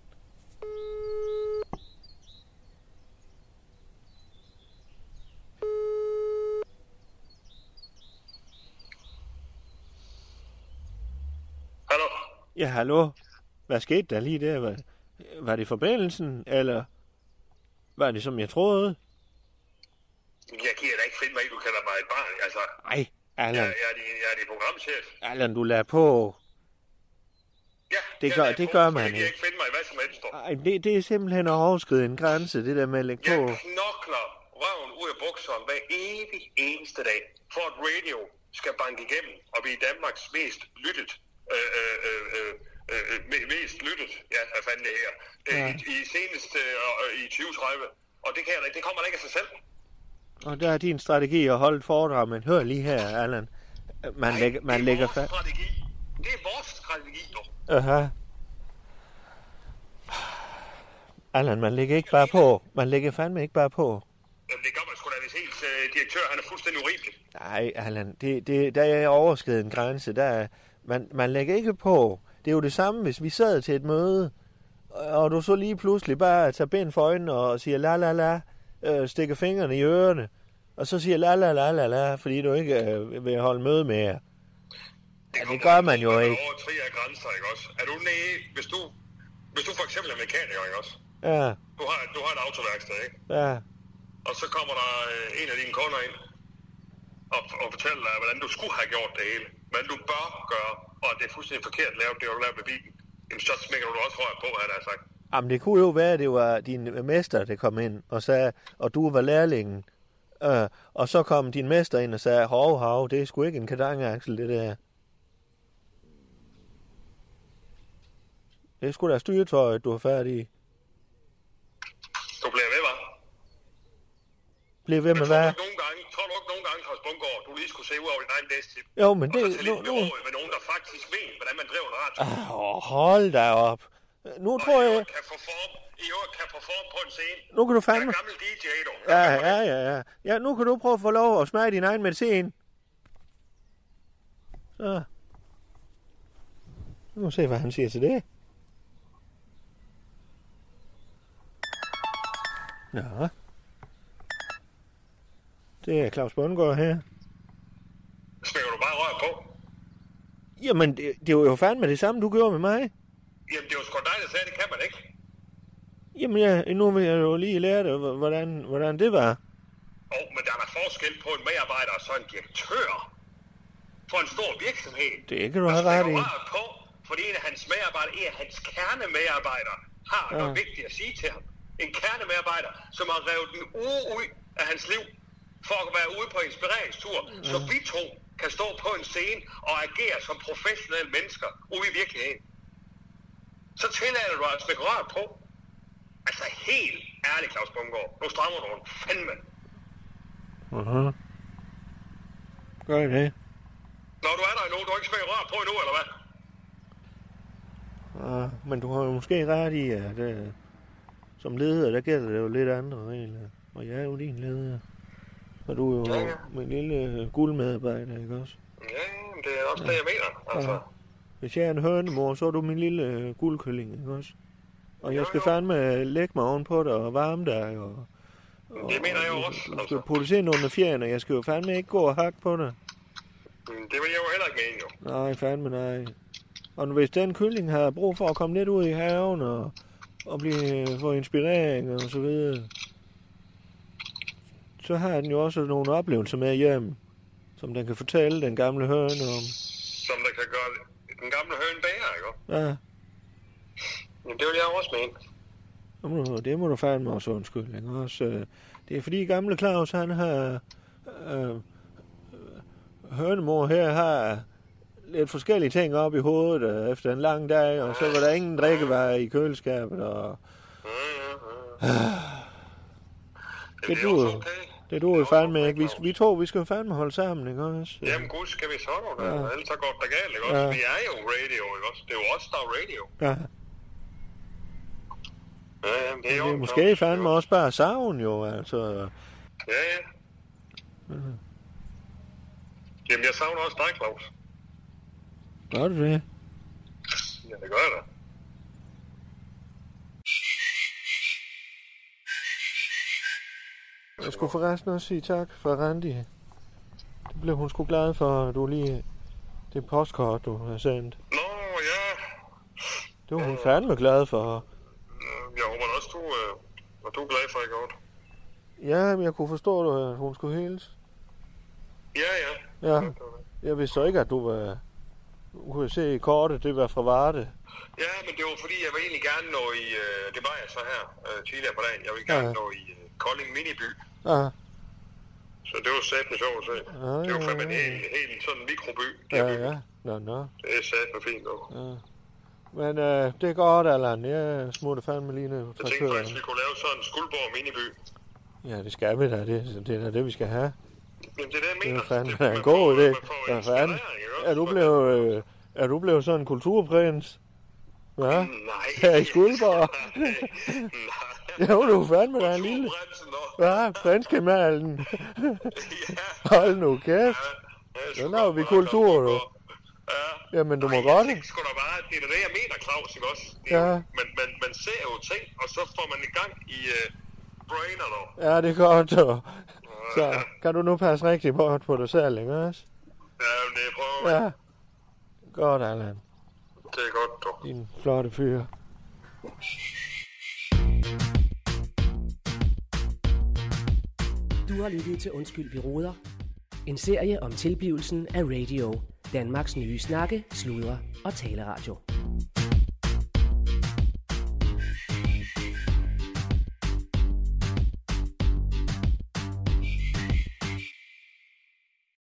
Hallo?
Ja, hallo? Hvad skete der lige der? Var, var det forbindelsen, eller var det, som jeg troede?
Jeg giver da ikke finde mig, i, du kalder mig et barn. Altså,
Nej,
jeg,
Allan,
jeg, er, din, jeg er din programchef.
Allan, du lader på.
Ja,
Det
jeg
gør-
er
det
på,
gør
så
man
Jeg
ikke.
giver
Ah.
ikke finde mig i hvad som helst. dog.
Ej, det, det er simpelthen at overskride en grænse, det der med at lægge
Jeg
på.
knokler røven ud af bukserne hver evig eneste dag, for at radio skal banke igennem og blive Danmarks mest lyttet. Øh, øh, øh, øh, øh, øh, me- mest lyttet, ja, hvad fanden det her, øh,
Ja.
i, i senest øh, øh, i 2030. Og det, kan jeg, da ikke- det kommer da ikke af sig selv.
Og der er din strategi at holde et foredrag, men hør lige her, Allan. Man,
Nej,
lægger, man
det er
lægger
vores
fast...
strategi. Det er vores strategi, jo.
Aha. Allan, man lægger ikke bare på. Man lægger fandme ikke bare på.
Jamen, det gør man sgu da, hvis helt øh, direktør, han er fuldstændig urimelig.
Nej, Allan, det, det, der er overskrevet en grænse. Der er, man, man lægger ikke på. Det er jo det samme, hvis vi sad til et møde, og og du så lige pludselig bare tager ben for øjnene og siger la la la, øh, stikker fingrene i ørerne, og så siger la la la la la, fordi du ikke øh, vil holde møde med jer. Ja, det gør man jo ikke.
Over tre af grænser, ikke også? Er du næ, hvis du, hvis du for eksempel er mekaniker, ikke også?
Ja,
Du har, du har et autoværksted, ikke?
ja,
Og så kommer der øh, en af dine kunder ind og, og fortæller dig, hvordan du skulle have gjort det hele. Hvordan du bør gøre, og at det er fuldstændig forkert lavet, det du har lavet med bilen. Jamen, så smækker du også røret på, han har sagt.
øh, Jamen, det kunne jo være, at det var din mester, der kom ind og sagde, og du var lærlingen. Øh, og så kom din mester ind og sagde, hov, hov, det er sgu ikke en kadangeaksel, det der. Det er sgu da styretøjet, du har fat i.
Du bliver ved, hva'?
Bliv ved med
tror du
hvad?
ikke nogle gange, tror du ikke nogle gange, Claus Bundgaard, du lige skulle se ud over din egen læstip?
Jo, men
Og så
det...
til
Nu,
lidt
nu, Ah,
med nogen, der faktisk ved, hvordan man driver en radio.
Åh, hold da op. Nu tror
Og i
jeg...
øvrigt kan performe, i øvrigt kan performe på en scene.
Nu kan du
Jeg
fandme...
er gammel DJ, du.
Ja, ja, ja, ja. Ja, nu kan du prøve at få lov at smage din egen medicin. Så. Nu må vi se, hvad han siger til det. Nå. Det er Claus Bundgaard her.
Smækker du bare rør på?
Jamen, det, det var jo fandme det samme, du gjorde med mig.
Jamen, det var sgu dig, der sagde, det kan man ikke.
Jamen, ja, nu vil jeg jo lige lære dig, h- hvordan, hvordan det var.
Åh, men der er der forskel på en medarbejder og så en direktør for en stor virksomhed.
Det kan du
Der
have ret
stikker
i.
røret på, fordi en af hans medarbejdere, en af hans kernemedarbejdere, har ja. noget vigtigt at sige til ham. En kernemedarbejder, som har revet en uge ud af hans liv, for at være ude på inspireringstur, ja. så vi to kan stå på en scene og agere som professionelle mennesker ude i virkeligheden. Så tillader du at stikke røret på. Altså helt ærligt, Claus Bungård, nu strammer du den fandme.
Uh-huh. Gør I det?
Når du er der endnu, du har ikke smagt rør på endnu, eller hvad?
Uh, men du har jo måske ret i, at uh, som leder, der gælder det jo lidt andre regler. Og jeg er jo din leder. Og du er jo
Ja, ja.
min lille øh, guldmedarbejder, ikke også?
Ja, men det er også det, jeg mener. Altså,
Ja. Hvis jeg er en hønemor, så er du min lille øh, guldkylling, ikke også? Og jeg
Jo,
skal
jo.
fandme øh, lægge mig ovenpå dig og varme dig, og, og
det mener jeg jo
og
også.
Du skal
Altså,
producere nogle af fjerne, jeg skal jo fandme ikke gå og hakke på dig.
Mm, det vil jeg jo heller ikke mene, jo.
Nej, fandme nej. Og hvis den kylling har brug for at komme lidt ud i haven og, og blive, få inspirering og så videre, så har den jo også nogle oplevelser med hjem, som den kan fortælle den gamle høne om.
Som der kan gøre den gamle høn bager, ikke?
Ja,
Men det vil jeg jo også mene.
det må du- det må du fandme også undskylde. Ikke? Også, øh, det er fordi gamle Claus, han har... Øh, øh, hønemor her har lidt forskellige ting op i hovedet øh, efter en lang dag, og så var der ingen drikkevarer i køleskabet, og
Mm, mm, mm.
Ah. Det
er
du-
også okay.
Det du jo
også
fandme ikke. Vi,
Claus.
vi to, vi skal jo fandme holde sammen, ikke også?
Jamen gud, skal vi så dog da?
Ja.
Ellers så går det galt, ikke også?
Ja.
Vi er jo radio, ikke også? Det er jo os, der er radio.
Ja,
Ja, ja, det er
det
jo...
er måske fandme også bare savn, jo, altså.
Ja, ja.
Mhm.
Jamen, jeg savner også dig, Claus.
Gør du det?
Ja, det gør jeg da.
Jeg skulle forresten også sige tak for Randi. Det blev hun sgu glad for, at du lige... Det postkort, du har sendt.
Nå, ja.
Det var hun fandme glad for.
Øh, Jeg håber da også, du, øh, og du er glad for i går.
Ja, men jeg kunne forstå, at hun skulle hilse.
Ja, ja.
Ja,
Mm.
jeg vidste så ikke, at du var... Nu kunne jeg se i kortet, det var fra Varde.
Ja, men det var fordi, jeg vil egentlig gerne nå i, øh, det var jeg så her øh, tidligere på dagen, jeg vil gerne
Ja.
nå i øh, Kolding Miniby,
Ja,
så det var satme sjovt at se. Det var fandme en helt, helt sådan mikroby. de har
Ah, ja,
bygget.
ja. Nå, nå.
Det er satme fint dog.
Men øh, det er godt, Allan. Jeg smutter fandme lige ned på
Jeg tænkte faktisk,
traktøren.
vi kunne lave sådan en Skuldborg Miniby.
Ja, det skal vi da. Det, det er da det, vi skal have.
Jamen, det er det, jeg
Det
mener.
er fandme
Det-
da en
man
god
får-
idé.
man får
Hvad
inspirering,
fanden?
ikke også?
Er du blevet, øh, er du blevet sådan en kulturprins? Ja?
Nej.
Her i
(laughs)
Skuldborg?
Nej.
(laughs) Jo, du er fandme da en lille...
Kulturbremsen, nå.
Ja, prinskemalen.
Ja.
(laughs) Hold nu kæft.
Ja,
Så laver vi kultur, du.
Ja.
Jamen, du må
Ej,
godt.
Jeg tænker sgu da bare, det er det, jeg mener, Claus, ikke også? Det er
Ja.
jo- Man, man, man ser jo ting, og så får man i gang i uh, brainer, dog.
Ja, det er godt, du. Så kan du nu passe rigtig godt på dig selv, ikke også?
Ja, men det prøver ja.
Ja. Godt, Allan.
Det er godt, dog.
Din flotte fyr.
Du har lyttet til Undskyld, vi råder. En serie om tilblivelsen af radio. Danmarks nye snakke, sludre og taleradio.